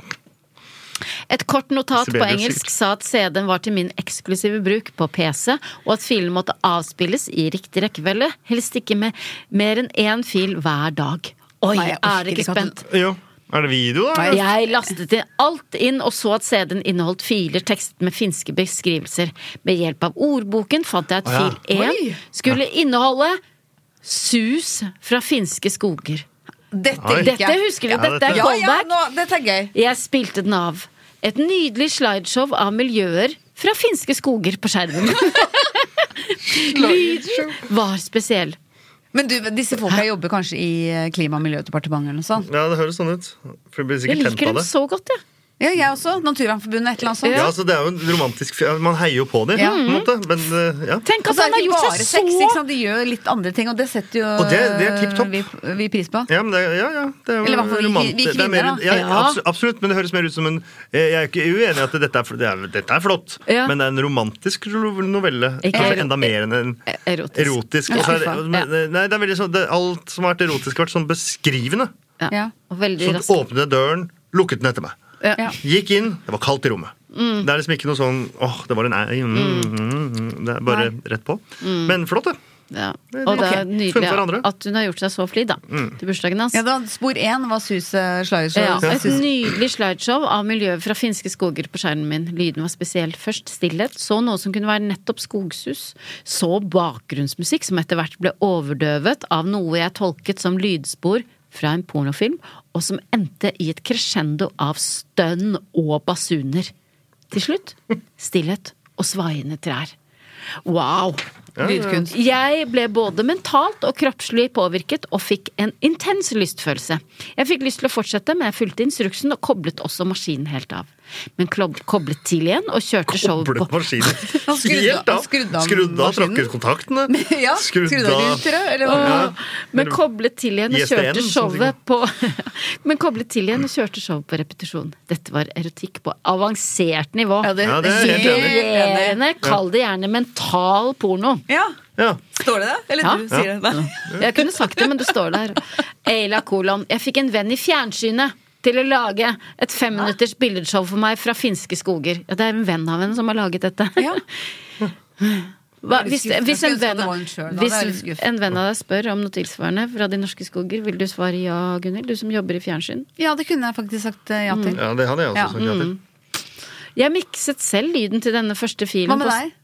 A: Et kort notat på
D: Sibelius,
A: engelsk
D: sikkert.
A: sa at CD-en var til min eksklusive bruk på PC, og at filen måtte avspilles i riktig rekkefølge, helst ikke med mer enn én fil hver dag. Oi,
C: Nei, jeg orker
A: er dere ikke
C: ikke at du-
A: spent?
D: Jo, er det video, da? eller?
A: Jeg lastet inn alt inn og så at CD-en inneholdt filer tekstet med finske beskrivelser. Med hjelp av ordboken fant jeg at
D: ja.
A: fil 1 skulle inneholde sus fra finske skoger.
C: Dette
D: Oi.
C: liker
A: Dette
C: jeg.
A: husker vi,
D: Ja,
A: dette er
D: dette-
C: Ja, ja,
A: callback.
C: nå, dette er gøy.
A: Jeg spilte den av. Et nydelig slideshow av miljøer fra finske skoger på
D: (laughs)
A: skjermen. Lyden var spesiell.
C: Men du, disse folka jobber kanskje i eh, Klima- og miljødepartementet eller noe sånt?
D: Ja, det høres sånn ut. For jeg blir
A: Jeg
D: sikkert tent
A: liker
D: av
A: dem
D: det.
A: så godt, jeg.
C: Ja, jeg også. Naturvernforbundet, et eller annet sånt.
D: Ja, altså, det er jo en romantisk fi- Man heier jo på dem,
C: Ja.
D: på en måte. Men eh, ja.
A: Tenk
C: Og
A: at
C: så er
A: han har
C: det Altså, ikke
A: gjort
C: bare
A: seg
C: sex, ikke
A: så
C: sant? de gjør litt andre ting, og det setter jo eh,
D: Og det- det er tipp topp.
C: vi, vi pris på.
D: Ja, men det, ja, ja, det er jo
C: Eller i hvert fall vi-
D: romant-
C: vi
D: det er mer-
C: kvinner, da.
D: Ja,
A: Ja.
D: abso- Absolutt, men det høres mer ut som en eh, Jeg er ikke uenig i at dette er, fl- det er, dette er flott,
A: Ja.
D: men det er en romantisk ro- novelle.
A: Ikke
D: Kanskje
A: ero-
D: enda mer enn en
C: E-
A: erotisk.
D: erotisk. Og så er, det- men, eh, nei, det er veldig sånn, det, alt som har vært erotisk, har vært sånn beskrivende.
A: Ja.
C: Ja.
A: Og veldig
D: Sånn
A: raskt.
D: åpnet døren, lukket den etter meg.
C: Ja. Mm.
D: Gikk inn, det var kaldt i rommet. Det er liksom ikke noe sånn åh, det var en ei mm, mm, mm, Det er bare rett på.
C: Mm.
D: Men flott, det.
A: Ja.
D: Det-
A: Og det
D: Ok,
A: er
D: funnet
A: nydelig
D: hverandre.
A: at hun har gjort seg så flid da,
D: Mm.
A: til bursdagen hans.
C: Ja, da, spor én var Sus eh, Slagershow.
A: Ja,
C: Ja,
A: et nydelig slideshow av miljøet fra finske skoger på skjermen min. Lyden var spesiell. Først stillhet, så noe som kunne være nettopp skogsus. Så bakgrunnsmusikk som etter hvert ble overdøvet av noe jeg tolket som lydspor fra en pornofilm, og som endte i et crescendo av stønn og basuner. Til slutt stillhet og svaiende trær. Wow!
C: Lydkunst.
A: Jeg ble både mentalt og kroppslig påvirket og fikk en intens lystfølelse. Jeg fikk lyst til å fortsette, men jeg fulgte instruksen og koblet også maskinen helt av. Men klob koblet tidlig igjen og kjørte showet
D: Koblet
A: på.
D: maskinen
C: (laughs) Han skrudde-
D: helt av.
C: han skrudde av
D: Skrudd av
C: maskinen.
D: trakkekontaktene.
C: (laughs) (laughs) ja, Skrudd av rutere, eller hva?
D: Ja.
A: Men koblet til igjen og
D: ISDN,
A: kjørte
D: sånn ting.
A: showet på (laughs) Men koblet til igjen og kjørte showet på repetisjon. Dette var erotikk på avansert nivå.
C: Ja, det,
D: Ja, det er helt enig.
A: Vibrerende, kall det gjerne mental porno.
G: Ja.
D: Ja.
G: Står det det? Eller
A: Ja.
G: du sier det? Nei.
A: Jeg kunne sagt det, men det står der. Eila Kolon. Jeg fikk en venn i fjernsynet til å lage et femminutters billedshow for meg fra finske skoger. Ja, det er en venn av henne som har laget dette.
C: Ja.
A: Hva,
C: Det er
A: hvis,
C: skuffende.
A: hvis, en
C: Jeg skulle ønske at
A: venn,
C: det var en selv, da. Det er litt
A: hvis
C: skuffende.
A: en venn av deg spør om noe tilsvarende fra De norske skoger, vil du svare ja, Gunhild? Du som jobber i fjernsyn.
C: Ja, det kunne jeg faktisk sagt eh, ja til.
D: ja, det hadde jeg
C: Ja. Mm.
D: også sagt ja til.
A: Jeg mikset selv lyden til denne første filen.
C: Hva med
A: på-
C: deg?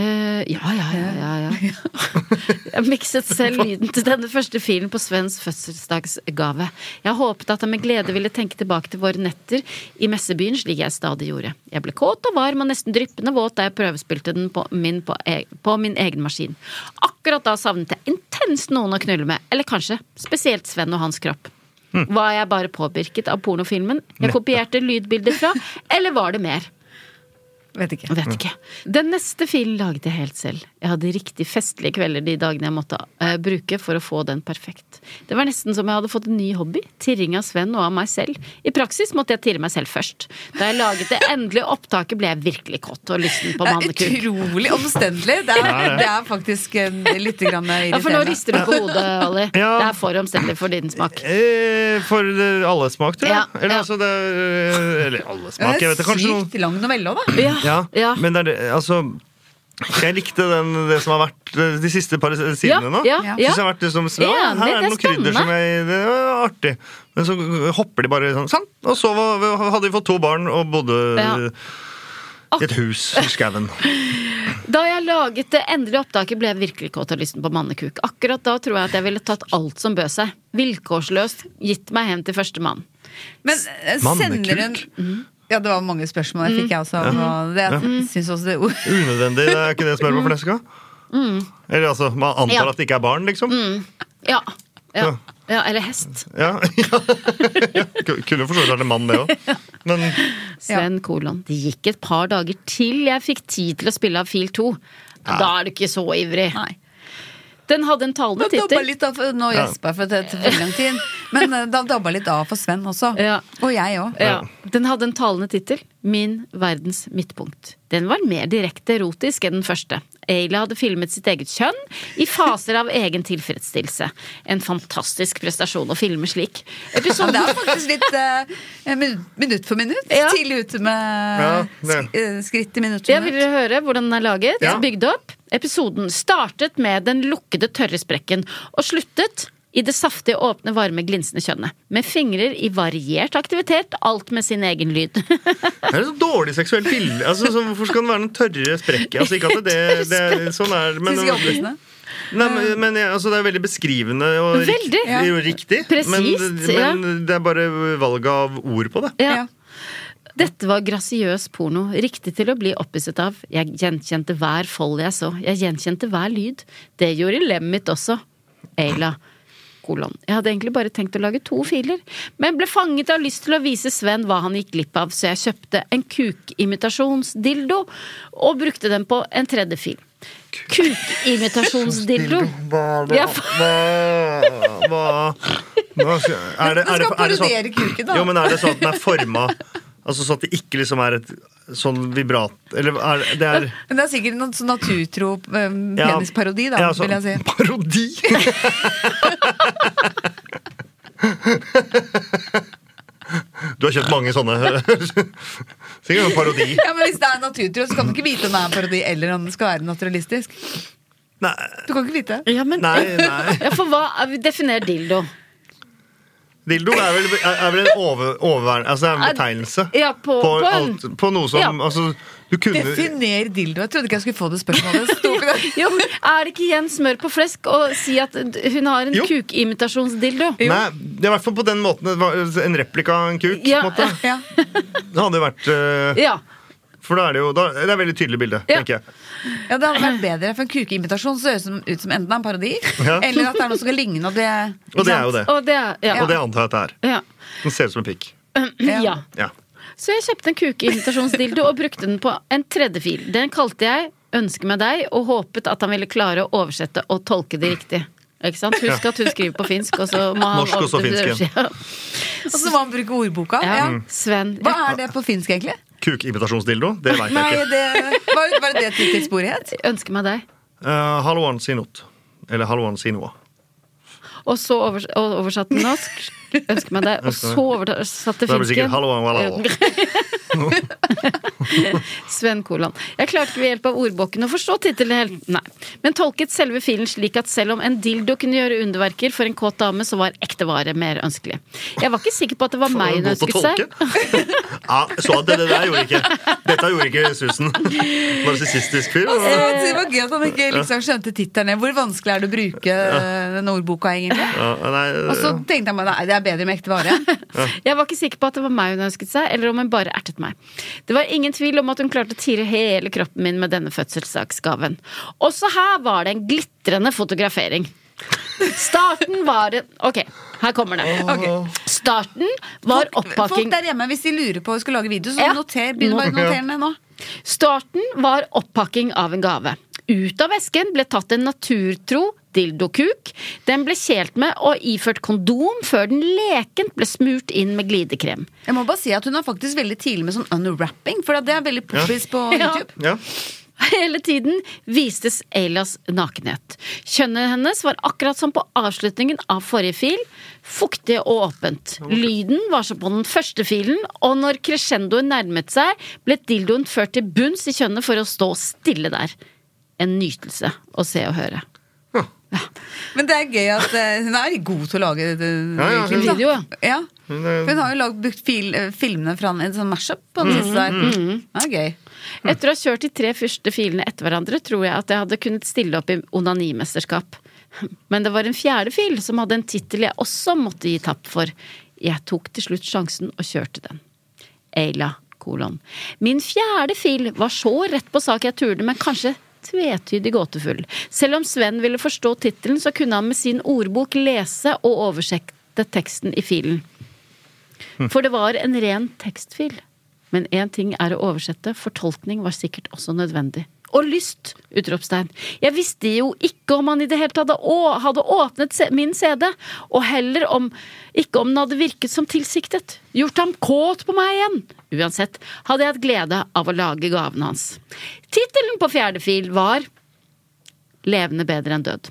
A: Eh, ja, ja, ja, ja, ja.
D: (laughs)
A: Jeg mikset selv lyden til denne første filen på Svens fødselsdagsgave. Jeg håpet at han med glede ville tenke tilbake til våre netter i messebyen, slik jeg stadig gjorde. Jeg ble kåt og varm og nesten dryppende våt da jeg prøvespilte den på min, på, e på min egen maskin. Akkurat da savnet jeg intenst noen å knulle med, eller kanskje spesielt Sven og hans kropp. Var jeg bare påvirket av pornofilmen jeg kopierte lydbilder fra, eller var det mer?
C: Vet ikke.
A: Jeg Vet ikke. Den neste filen laget jeg helt selv. Jeg hadde riktig festlige kvelder de dagene jeg måtte eh, bruke for å få den perfekt. Det var nesten som jeg hadde fått en ny hobby. Tirring av Sven og av meg selv. I praksis måtte jeg tirre meg selv først. Da jeg laget det endelige opptaket, ble jeg virkelig kåt og lysten på
C: Det er
A: mannekuk.
C: utrolig omstendelig. Det er, det er faktisk eh, litt grann
A: Ja, for nå
C: irriterende.
A: rister du på hodet, Olli.
D: (laughs) Ja.
A: Det er for omstendelig for din smak.
D: Eh, For eh, alle smak, tror jeg.
A: Ja,
D: Eller
A: ja.
D: altså det er, eh, Eller alle smak, jeg vet det. Kanskje noen
C: Sykt lang novelle òg, da.
A: Ja,
D: ja,
A: ja.
D: Men det er det, altså Jeg likte den, det som har vært eh, de siste par sidene
A: Ja,
D: nå.
A: ja, ja.
D: Synes jeg har vært liksom, så, ja,
A: Enig, det
D: her er
A: er
D: det noen krydder som jeg, det er artig. Men så hopper de bare sånn. sånn. Og så var, hadde vi fått to barn og bodde
A: Ja.
D: eh, i et hus i
A: (laughs)
D: skauen.
A: Da jeg laget det endelige opptaket, ble jeg virkelig kåt av lysten på mannekuk. Akkurat da tror jeg at jeg ville tatt alt som bød seg. Vilkårsløst gitt meg hen til førstemann.
C: Men eh, sender hun
D: Mannekuk.
C: Ja, det var mange spørsmål jeg fikk, jeg også.
D: Mm.
C: Og det, jeg synes også det ord
D: Unødvendig. Det er ikke det som er på fleska. Eller altså, man antar
A: Mm. Ja. Mm.
D: at det ikke er barn, liksom.
A: Ja.
D: Ja.
A: ja. ja eller hest.
D: Ja, (laughs) ja. ja. Kunne for så vidt vært en mann, det
A: (laughs)
D: òg. Men
A: Sven Kolon. Det gikk et par dager til jeg fikk tid til å spille av fil 2. Da er du ikke så ivrig.
C: Nei.
A: Den hadde en talende
C: (laughs) Det dabba
A: tittel.
C: litt av for- Nå gjespa jeg for det tok for lang tid. Men eh, det dabba litt av for Sven også.
A: Ja.
C: Og jeg òg.
A: Ja. Den hadde en talende tittel. Min verdens midtpunkt. Den var mer direkte erotisk enn den første. Ayla hadde filmet sitt eget kjønn i faser av egen tilfredsstillelse. En fantastisk prestasjon å filme slik.
C: Så det
A: Episoden
C: er faktisk litt eh, min- minutt for minutt.
A: Ja.
C: Tidlig ute med
D: Ja, det.
C: sk eh, skritt i minutt for
A: Jeg vil
C: minutt.
A: dere høre hvordan den er laget,
D: Ja.
A: bygd opp. Episoden startet med den lukkede tørre sprekken, og sluttet i det saftige, åpne, varme, glinsende kjønnet. Med fingrer i variert aktivitet, alt med sin egen lyd.
D: Det er et så dårlig seksuelt bilde. Altså, så hvorfor skal den være noen tørre sprekk? Altså, ikke at det, det, det sånn er men,
C: Synes jeg opplysende.
D: nei, men, men jeg- altså, Det er veldig beskrivende og rikt-
A: Veldig.
D: jo, riktig.
A: Presist, ja.
D: men, men det er bare valget av ord på det.
A: Ja. Dette var grasiøs porno, riktig til å bli opphisset av. Jeg gjenkjente hver fold jeg så, jeg gjenkjente hver lyd. Det gjorde lemmet mitt også. Ayla. Kolon. Jeg hadde egentlig bare tenkt å lage to filer, men ble fanget av lyst til å vise Sven hva han gikk glipp av, så jeg kjøpte en kukimitasjonsdildo og brukte den på en tredje fil. Kukimitasjonsdildo.
D: Hva er
A: Ja,
D: det? Hva, hva, hva skal- er det,
C: Du
D: er
C: skal
D: det, er det
C: parodiere
D: sånn,
C: kuken, da.
D: jo, men er det sånn at den er forma altså, sånn at det ikke liksom er et sånn vibrat Eller er det- det er
C: Men det er sikkert noen sånn naturtro eh,
D: Ja.
C: penisparodi, da,
D: Ja, altså,
C: vil jeg si.
D: Parodi! (laughs) du har kjøpt mange sånne. (laughs) Sikkert en parodi.
C: Ja, men Hvis det er naturtro, så kan du ikke vite om det er en parodi eller om det skal være naturalistisk.
D: Nei,
C: Du kan ikke vite.
A: Ja, men
D: nei, nei.
A: ja, for hva Definer dildo.
D: Dildo er vel, er vel en over, oververn... Altså, det er en betegnelse.
A: Ja, på, på en
D: alt, på noe som
A: Ja.
D: Altså, du kunne
C: Definer dildo. Jeg trodde ikke jeg skulle få det spørsmålet. Det sto ikke der.
A: (laughs) Jo, men Er det ikke igjen smør på flesk å si at hun har en
D: Jo.
A: kukimitasjonsdildo?
D: Nei, det er i hvert fall på den måten. det var En replika av en kuk.
A: Ja.
D: på en måte.
C: Ja.
D: Det hadde jo vært eh,
A: Ja.
D: For da er det jo da, Det er et veldig tydelig bilde,
A: Ja.
D: tenker jeg.
C: ja, det hadde vært bedre, for en kukeimitasjon ser ut som, ut som enten det er en parodi,
D: Ja.
C: eller at det er noe som skal ligne, og det ikke
D: Og det er jo det.
A: Og det er ja.
D: Og det antar jeg at det er.
A: Ja.
D: Den ser ut som en pikk.
C: Ja.
A: ja.
D: Ja.
A: Så jeg kjøpte en kukimitasjonsdildo og brukte den på en tredje fil. Den kalte jeg 'Ønske meg deg' og håpet at han ville klare å oversette og tolke det riktig. Ikke sant? Husk at hun skriver på finsk, og så må han
D: Norsk og så finsk igjen.
A: Ja.
C: Og så må man bruke ordboka.
A: (laughs) Ja.
C: Ja.
D: Mm.
A: Sven.
C: Hva er det på finsk, egentlig?
D: Kukimitasjonsdildo? Det veit
C: Nei,
D: jeg ikke.
C: det, var, var det det tidssporet het?
A: Ønske meg deg.
D: Eh, haluan sinut. Eller haluan sinua.
A: Og så overs og oversatt til norsk. Ønsker meg det. Og så oversatt til
D: Da blir det sikkert haluan walao.
A: finsk. (laughs) Sven Kolan. Jeg klarte ikke ved hjelp av ordboken å forstå tittelen helt, nei. Men tolket selve filen slik at selv om en dildo kunne gjøre underverker for en kåt dame, så var ekte vare mer ønskelig. Jeg var ikke sikker på at det var meg hun
D: God til
A: ønsket
D: å
A: seg.
D: tolke. (laughs) ja, så at det, det der gjorde ikke Dette gjorde ikke Susan. Narsissistisk fyr.
C: Det
D: og-
C: var- det var gøy at han ikke liksom skjønte tittelen. Hvor vanskelig er det å bruke eh, den ordboka, egentlig?
D: Ja,
C: Og så
D: nei, eh,
C: tenkte han bare nei, det er bedre med ekte vare.
A: (laughs) Jeg var ikke sikker på at det var meg hun ønsket seg, eller om hun bare ertet meg. Det var ingen tvil om at hun klarte å tire hele kroppen min med denne fødselsdagsgaven. Også her var det en glitrende fotografering. Starten var en Ok, her kommer det. Starten var
C: Folk
A: oppakking
C: der hjemme, hvis de lurer på å skulle lage video, så
A: Ja.
C: noter, begynn bare å notere den ned nå.
A: Starten var oppakking av en gave. Ut av vesken ble tatt en naturtro dildokuk. Den ble kjelt med og iført kondom før den lekent ble smurt inn med glidekrem.
C: Jeg må bare si at hun er faktisk veldig tidlig med sånn unwrapping, for det er veldig poppis på
A: (laughs) Ja.
C: YouTube.
D: ja.
A: (laughs) Hele tiden vistes Elias nakenhet. Kjønnet hennes var akkurat som på avslutningen av forrige fil, fuktig og åpent. Lyden var som på den første filen, og når crescendoen nærmet seg, ble dildoen ført til bunns i kjønnet for å stå stille der. En nytelse å se og høre.
C: Men det er gøy at eh, hun er god til å lage det,
D: Ja, ja,
C: YouTube,
A: video, ja.
C: da. Ja. Hun har jo lagd, brukt fil, eh, filmene fra en sånn mashup på
A: Mm.
C: den siste der. Det er gøy.
A: Etter å ha kjørt de tre første filene etter hverandre, tror jeg at jeg hadde kunnet stille opp i onanimesterskap. Men det var en fjerde fil som hadde en tittel jeg også måtte gi tapp for. Jeg tok til slutt sjansen og kjørte den. Eila, kolon. Min fjerde fil var så rett på sak jeg turde, men kanskje tvetydig gåtefull. Selv om Sven ville forstå tittelen, så kunne han med sin ordbok lese og oversette teksten i filen. For det var en ren tekstfil. Men én ting er å oversette, fortolkning var sikkert også nødvendig. Og lyst! utropstegn. Jeg visste jo ikke om han i det hele tatt hadde, å, hadde åpnet se- min CD, og heller om, ikke om den hadde virket som tilsiktet. Gjort ham kåt på meg igjen! Uansett hadde jeg hatt glede av å lage gavene hans. Tittelen på fjerde fil var Levende bedre enn død.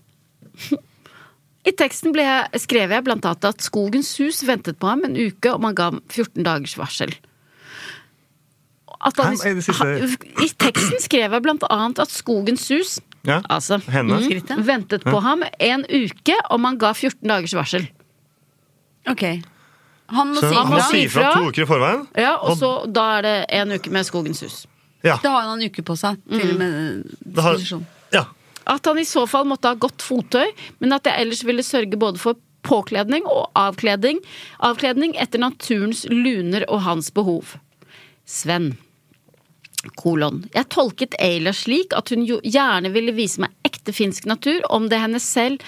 A: I teksten ble jeg, skrev jeg blant annet at Skogens hus ventet på ham en uke, om han ga ham 14 dagers varsel. At han,
D: Hæ? Er det siste-
A: ha- I teksten skrev jeg blant annet at Skogens hus
D: Ja.
A: altså,
D: Henne.
A: mm, ventet på ham en uke, om han ga 14 dagers varsel.
C: Ok. Han må
D: Så
C: si
D: han må
C: ifra.
D: si ifra
A: ifra.
D: to uker i forveien.
A: Ja, og
D: Og-
A: så Da er det en uke med Skogens hus.
D: Ja.
C: Da har han en uke på seg til med
D: Det har,
C: disposisjon.
D: ja.
A: At han i så fall måtte ha godt fottøy, men at jeg ellers ville sørge både for påkledning og avkledning, avkledning etter naturens luner og hans behov. Sven. Kolon. Jeg tolket Ayla slik at hun jo gjerne ville vise meg ekte finsk natur, om det henne selv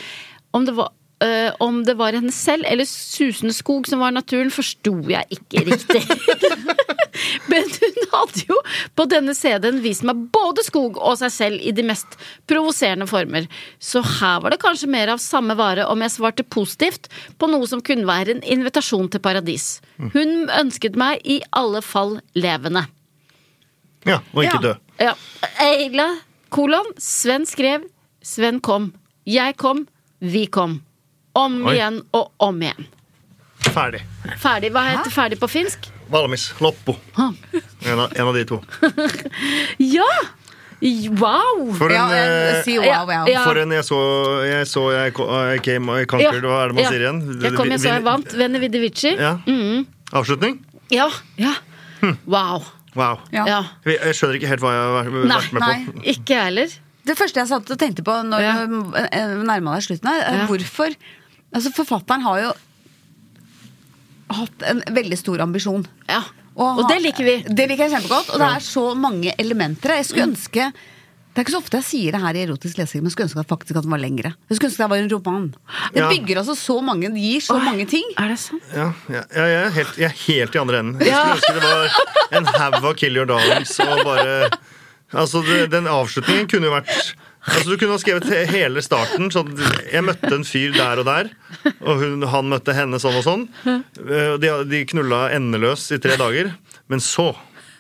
A: om det var øh, om det var henne selv eller susende skog som var naturen, forsto jeg ikke riktig. (laughs) Men hun hadde jo på denne CD-en vist meg både skog og seg selv i de mest provoserende former. Så her var det kanskje mer av samme vare om jeg svarte positivt på noe som kunne være en invitasjon til paradis. Hun ønsket meg i alle fall levende.
D: ja. Og ikke
C: Ja.
D: dø.
A: Ja. Eila, kolon, Sven skrev, Sven kom. Jeg kom, vi kom. Om
D: Oi.
A: igjen og om igjen.
D: Ferdig.
A: Ferdig. Hva heter ferdig på finsk?
D: Valamis. Loppo. En av, en av de to.
A: Ja! Wow!
D: For en,
C: Ja, eh,
D: eh,
C: si wow, wow.
A: Ja.
D: for en jeg så jeg, så, jeg, ko- I came, I conquered, hva er det man
A: ja.
D: sier igjen?
A: Jeg kom, jeg så jeg vant. Mm. Venne Vidivici.
D: Ja. Avslutning?
A: Ja. ja. Wow.
D: Wow.
C: Ja.
A: Ja.
D: Jeg jeg skjønner ikke helt hva jeg har vært- vært
A: Nei,
D: med på.
C: nei.
A: Ikke jeg heller.
C: Det første jeg satt og tenkte på når
A: Ja.
C: du eh, nærma deg slutten her, er
A: Ja.
C: hvorfor Altså, forfatteren har jo hatt en veldig stor ambisjon.
A: Ja.
C: Og
A: Og
C: ha-
A: det liker vi.
C: Det liker jeg kjempegodt. Og det er så mange elementer her. Jeg skulle ønske Det er ikke så ofte jeg sier det her i erotisk lesing, men jeg skulle ønske at faktisk at den var lengre. Jeg skulle ønske det var en roman. Det
D: Ja.
C: bygger altså så mange, det gir så mange ting.
A: Er det sant?
D: Ja, ja, ja, jeg, er helt, jeg er helt i andre enden. Jeg skulle ønske det var en haug av Kill Your Darlings og bare Altså, det, den avslutningen kunne jo vært Altså, Du kunne ha skrevet he- hele starten. Sånn, jeg møtte en fyr der og der, og hun, han møtte henne sånn og sånn. Eh, og De, de knulla endeløs i tre dager. Men så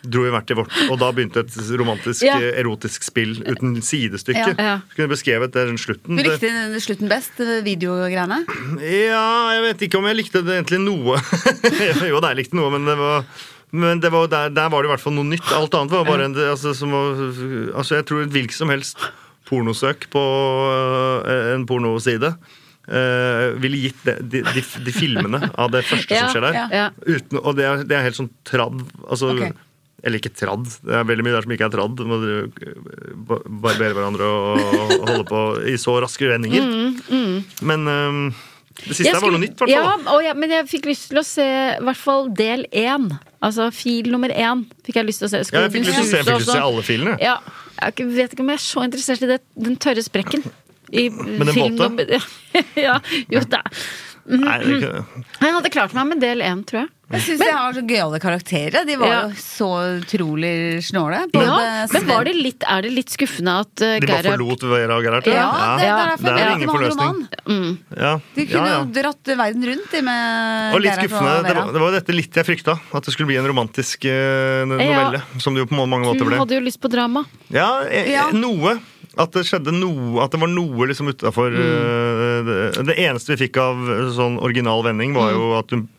D: dro vi hvert til vårt. Og da begynte et romantisk,
A: Ja.
D: eh, erotisk spill uten sidestykke.
A: Ja, ja.
D: Så kunne jeg beskrevet det rundt slutten.
C: Du
D: Det-
C: likte slutten best, eh, videogreiene?
D: Ja, jeg vet ikke om jeg likte det egentlig noe. (laughs) jo da, jeg likte noe, men det var men det var, der, der var det i hvert fall noe nytt. Alt annet var bare en, altså, som, å- altså Jeg tror et hvilket som helst pornosøk på øh, en pornoside øh, ville gitt det, de, de, de filmene av det første
A: Ja,
D: som skjer der.
A: ja, ja.
D: Uten, og det er, det er helt sånn tradd. Altså,
C: Ok.
D: Eller ikke tradd. Det er veldig mye der som ikke er tradd. Må dere øh, bar- barbere hverandre og, og holde på i så raske
A: Mm.
D: vendinger. Men øhm, det siste
A: Jeg
D: her var
A: skulle-
D: noe nytt, i hvert fall.
A: Ja, og jeg- men jeg fikk lyst til å se i hvert fall del én. Altså fil nummer én fikk jeg lyst til å se.
D: Ja, jeg fikk lyst til å se, jeg fikk lyst til å se alle filene.
A: Ja, jeg er ikke- vet ikke om jeg er så interessert i det, den tørre sprekken.
D: (laughs)
A: I Men
D: den våte?
A: (laughs) ja, jo da.
D: Nei, det er ikke-
A: Jeg hadde klart meg med del én, tror jeg.
C: Jeg syns jeg har så gøyale karakterer. De var
A: Ja.
C: jo så utrolig snåle. Både
A: Ja, men
C: Sven-
A: var det litt, er det litt skuffende at uh,
D: De bare
A: Gerhard
D: forlot Vera og Gerhard?
C: Ja, det,
A: Ja.
C: det er
D: Det er
C: derfor
D: ingen
C: ingen
D: forløsning.
C: roman.
D: Ja.
C: De
D: ja,
C: kunne jo
D: ja.
C: dratt verden rundt de med
D: Og litt
C: Gerhard
D: skuffende. Det
C: Vera.
D: var, det var jo dette litt jeg frykta. At det skulle bli en romantisk eh, novelle. Som det jo på mange måter
A: Du
D: ble.
A: hadde jo lyst på drama.
D: Ja, eh,
C: Ja.
D: noe. At det skjedde noe At det var noe liksom utafor
C: Mm.
D: det, det eneste vi fikk av eh, sånn original vending, var
C: Mm.
D: jo at hun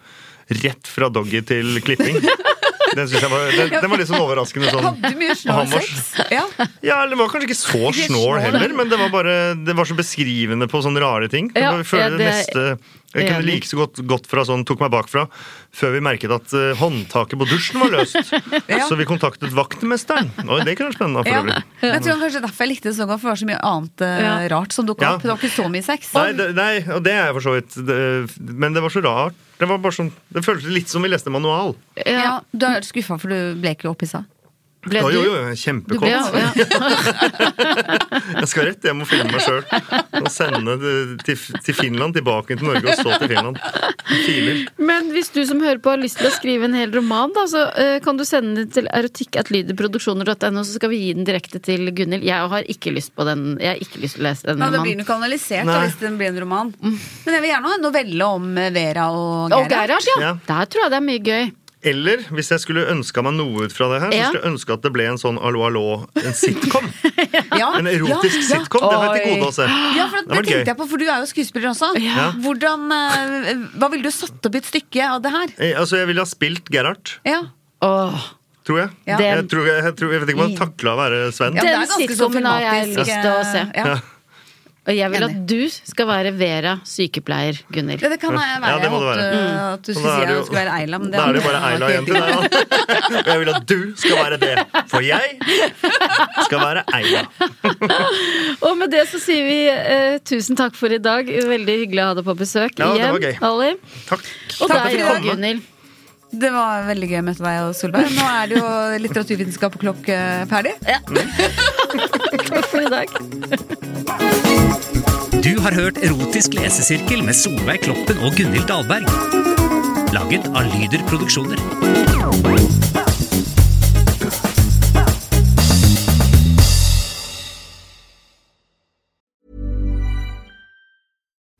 D: Rett fra doggy til
C: (laughs)
D: klipping. Den, synes jeg var, den, den var litt sånn overraskende sånn.
C: Hadde mye snål
D: Hammers.
C: sex. Ja.
D: Ja, eller Det var kanskje ikke så
C: Ikke
D: snål
C: snål,
D: heller,
C: nei.
D: men det var bare Det var så beskrivende på sånne rare ting.
A: Ja,
D: jeg føler
A: ja,
D: det
A: det er
D: neste Jeg kunne
A: enig.
D: like så godt gått fra sånn tok meg bakfra før vi merket at eh, håndtaket på dusjen var løst.
C: (laughs) Ja.
D: Så vi kontaktet vaktmesteren. Oi, det kunne vært spennende for
C: Ja.
D: øvrig.
C: Men Jeg tror kanskje derfor jeg likte det så godt, for det var så mye annet eh,
A: Ja.
C: rart som dukka
D: Ja.
C: opp. Det var ikke så mye sex.
D: Nei, det, nei, og det er jeg for så vidt. Det, men det var så rart. Det var bare sånn, det føltes litt som vi leste manual.
C: ja, du er skuffa, for du ble ikke opphissa.
A: Ble
D: Jo, jo,
A: du?
D: jo,
A: Du ble,
D: kjempekort.
A: ja, ja.
D: (laughs) Jeg skal rett hjem og filme meg sjøl. Og sende det til, til Finland, tilbake til Norge, og så til Finland. Filer.
A: Men hvis du som hører på har lyst til å skrive en hel roman, da, så eh, kan du sende den til erotikkattlydeproduksjoner.no, så skal vi gi den direkte til Gunhild. Jeg har ikke lyst på den. Jeg har ikke lyst til å lese den
C: Ja, det blir
A: romanen.
C: den kanalisert
D: Nei.
C: da, hvis den blir en roman. Men jeg vil gjerne ha en novelle om eh, Vera og
A: Og
C: Gerhard.
A: Gerhard, ja.
D: Ja.
A: Der tror jeg det er mye gøy.
D: Eller hvis jeg skulle ønska meg noe ut fra det her,
A: Ja.
D: så skulle jeg ønske at det ble en sånn allo allo, en
A: (laughs)
D: sitcom.
C: Ja,
D: En erotisk
C: ja, ja.
D: sitcom. Det har jeg til
A: Oi.
D: gode å se.
C: Ja, for at,
D: Det
C: det
D: hadde vært
C: tenkte
D: gøy.
C: jeg på, for du er jo skuespiller også.
D: Ja.
C: Hvordan, eh, hva ville du satt opp i et stykke av det her?
D: Eh, Altså, jeg ville ha spilt Gerhard,
C: Ja.
A: Åh.
D: tror jeg.
C: Ja.
D: Jeg, tror, jeg, jeg, tror, jeg vet ikke om
A: I-
D: jeg hadde takla å være
C: Ja,
D: Sven.
C: men
A: Den
C: det er ganske så
A: sitcomen har jeg
C: filmatisk,
A: lyst til å
C: eh,
A: se.
C: Ja.
A: Og jeg vil at
C: Enig.
A: du skal være Vera sykepleier, Gunhild.
C: Ja, det kan jeg være.
D: Ja, det må
C: jeg håpte
D: det være.
C: eh,
A: Mm.
C: at du
D: Og
C: skulle
D: da
C: si
D: er det
C: at
D: jo-
C: du skulle være Eila. Men det
D: Da er det jo bare Eila igjen til deg. da. Og jeg vil at du skal være det. For jeg skal være Eila.
A: (laughs) Og med det så sier vi eh, tusen takk for i dag. Veldig hyggelig å ha deg på besøk
D: Ja, det
A: igjen,
D: var gøy.
A: Ali.
D: Takk.
A: Og
D: Takk for at
A: deg
D: du
A: òg,
D: kom.
A: Gunhild.
C: Det var veldig gøy å møte deg og Solveig. Nå er det jo litteraturvitenskap og klokk eh, ferdig.
A: Takk for i dag.
B: Du har hørt Erotisk lesesirkel med Solveig Kloppen og Gunhild Dahlberg. Laget av Lyder Produksjoner.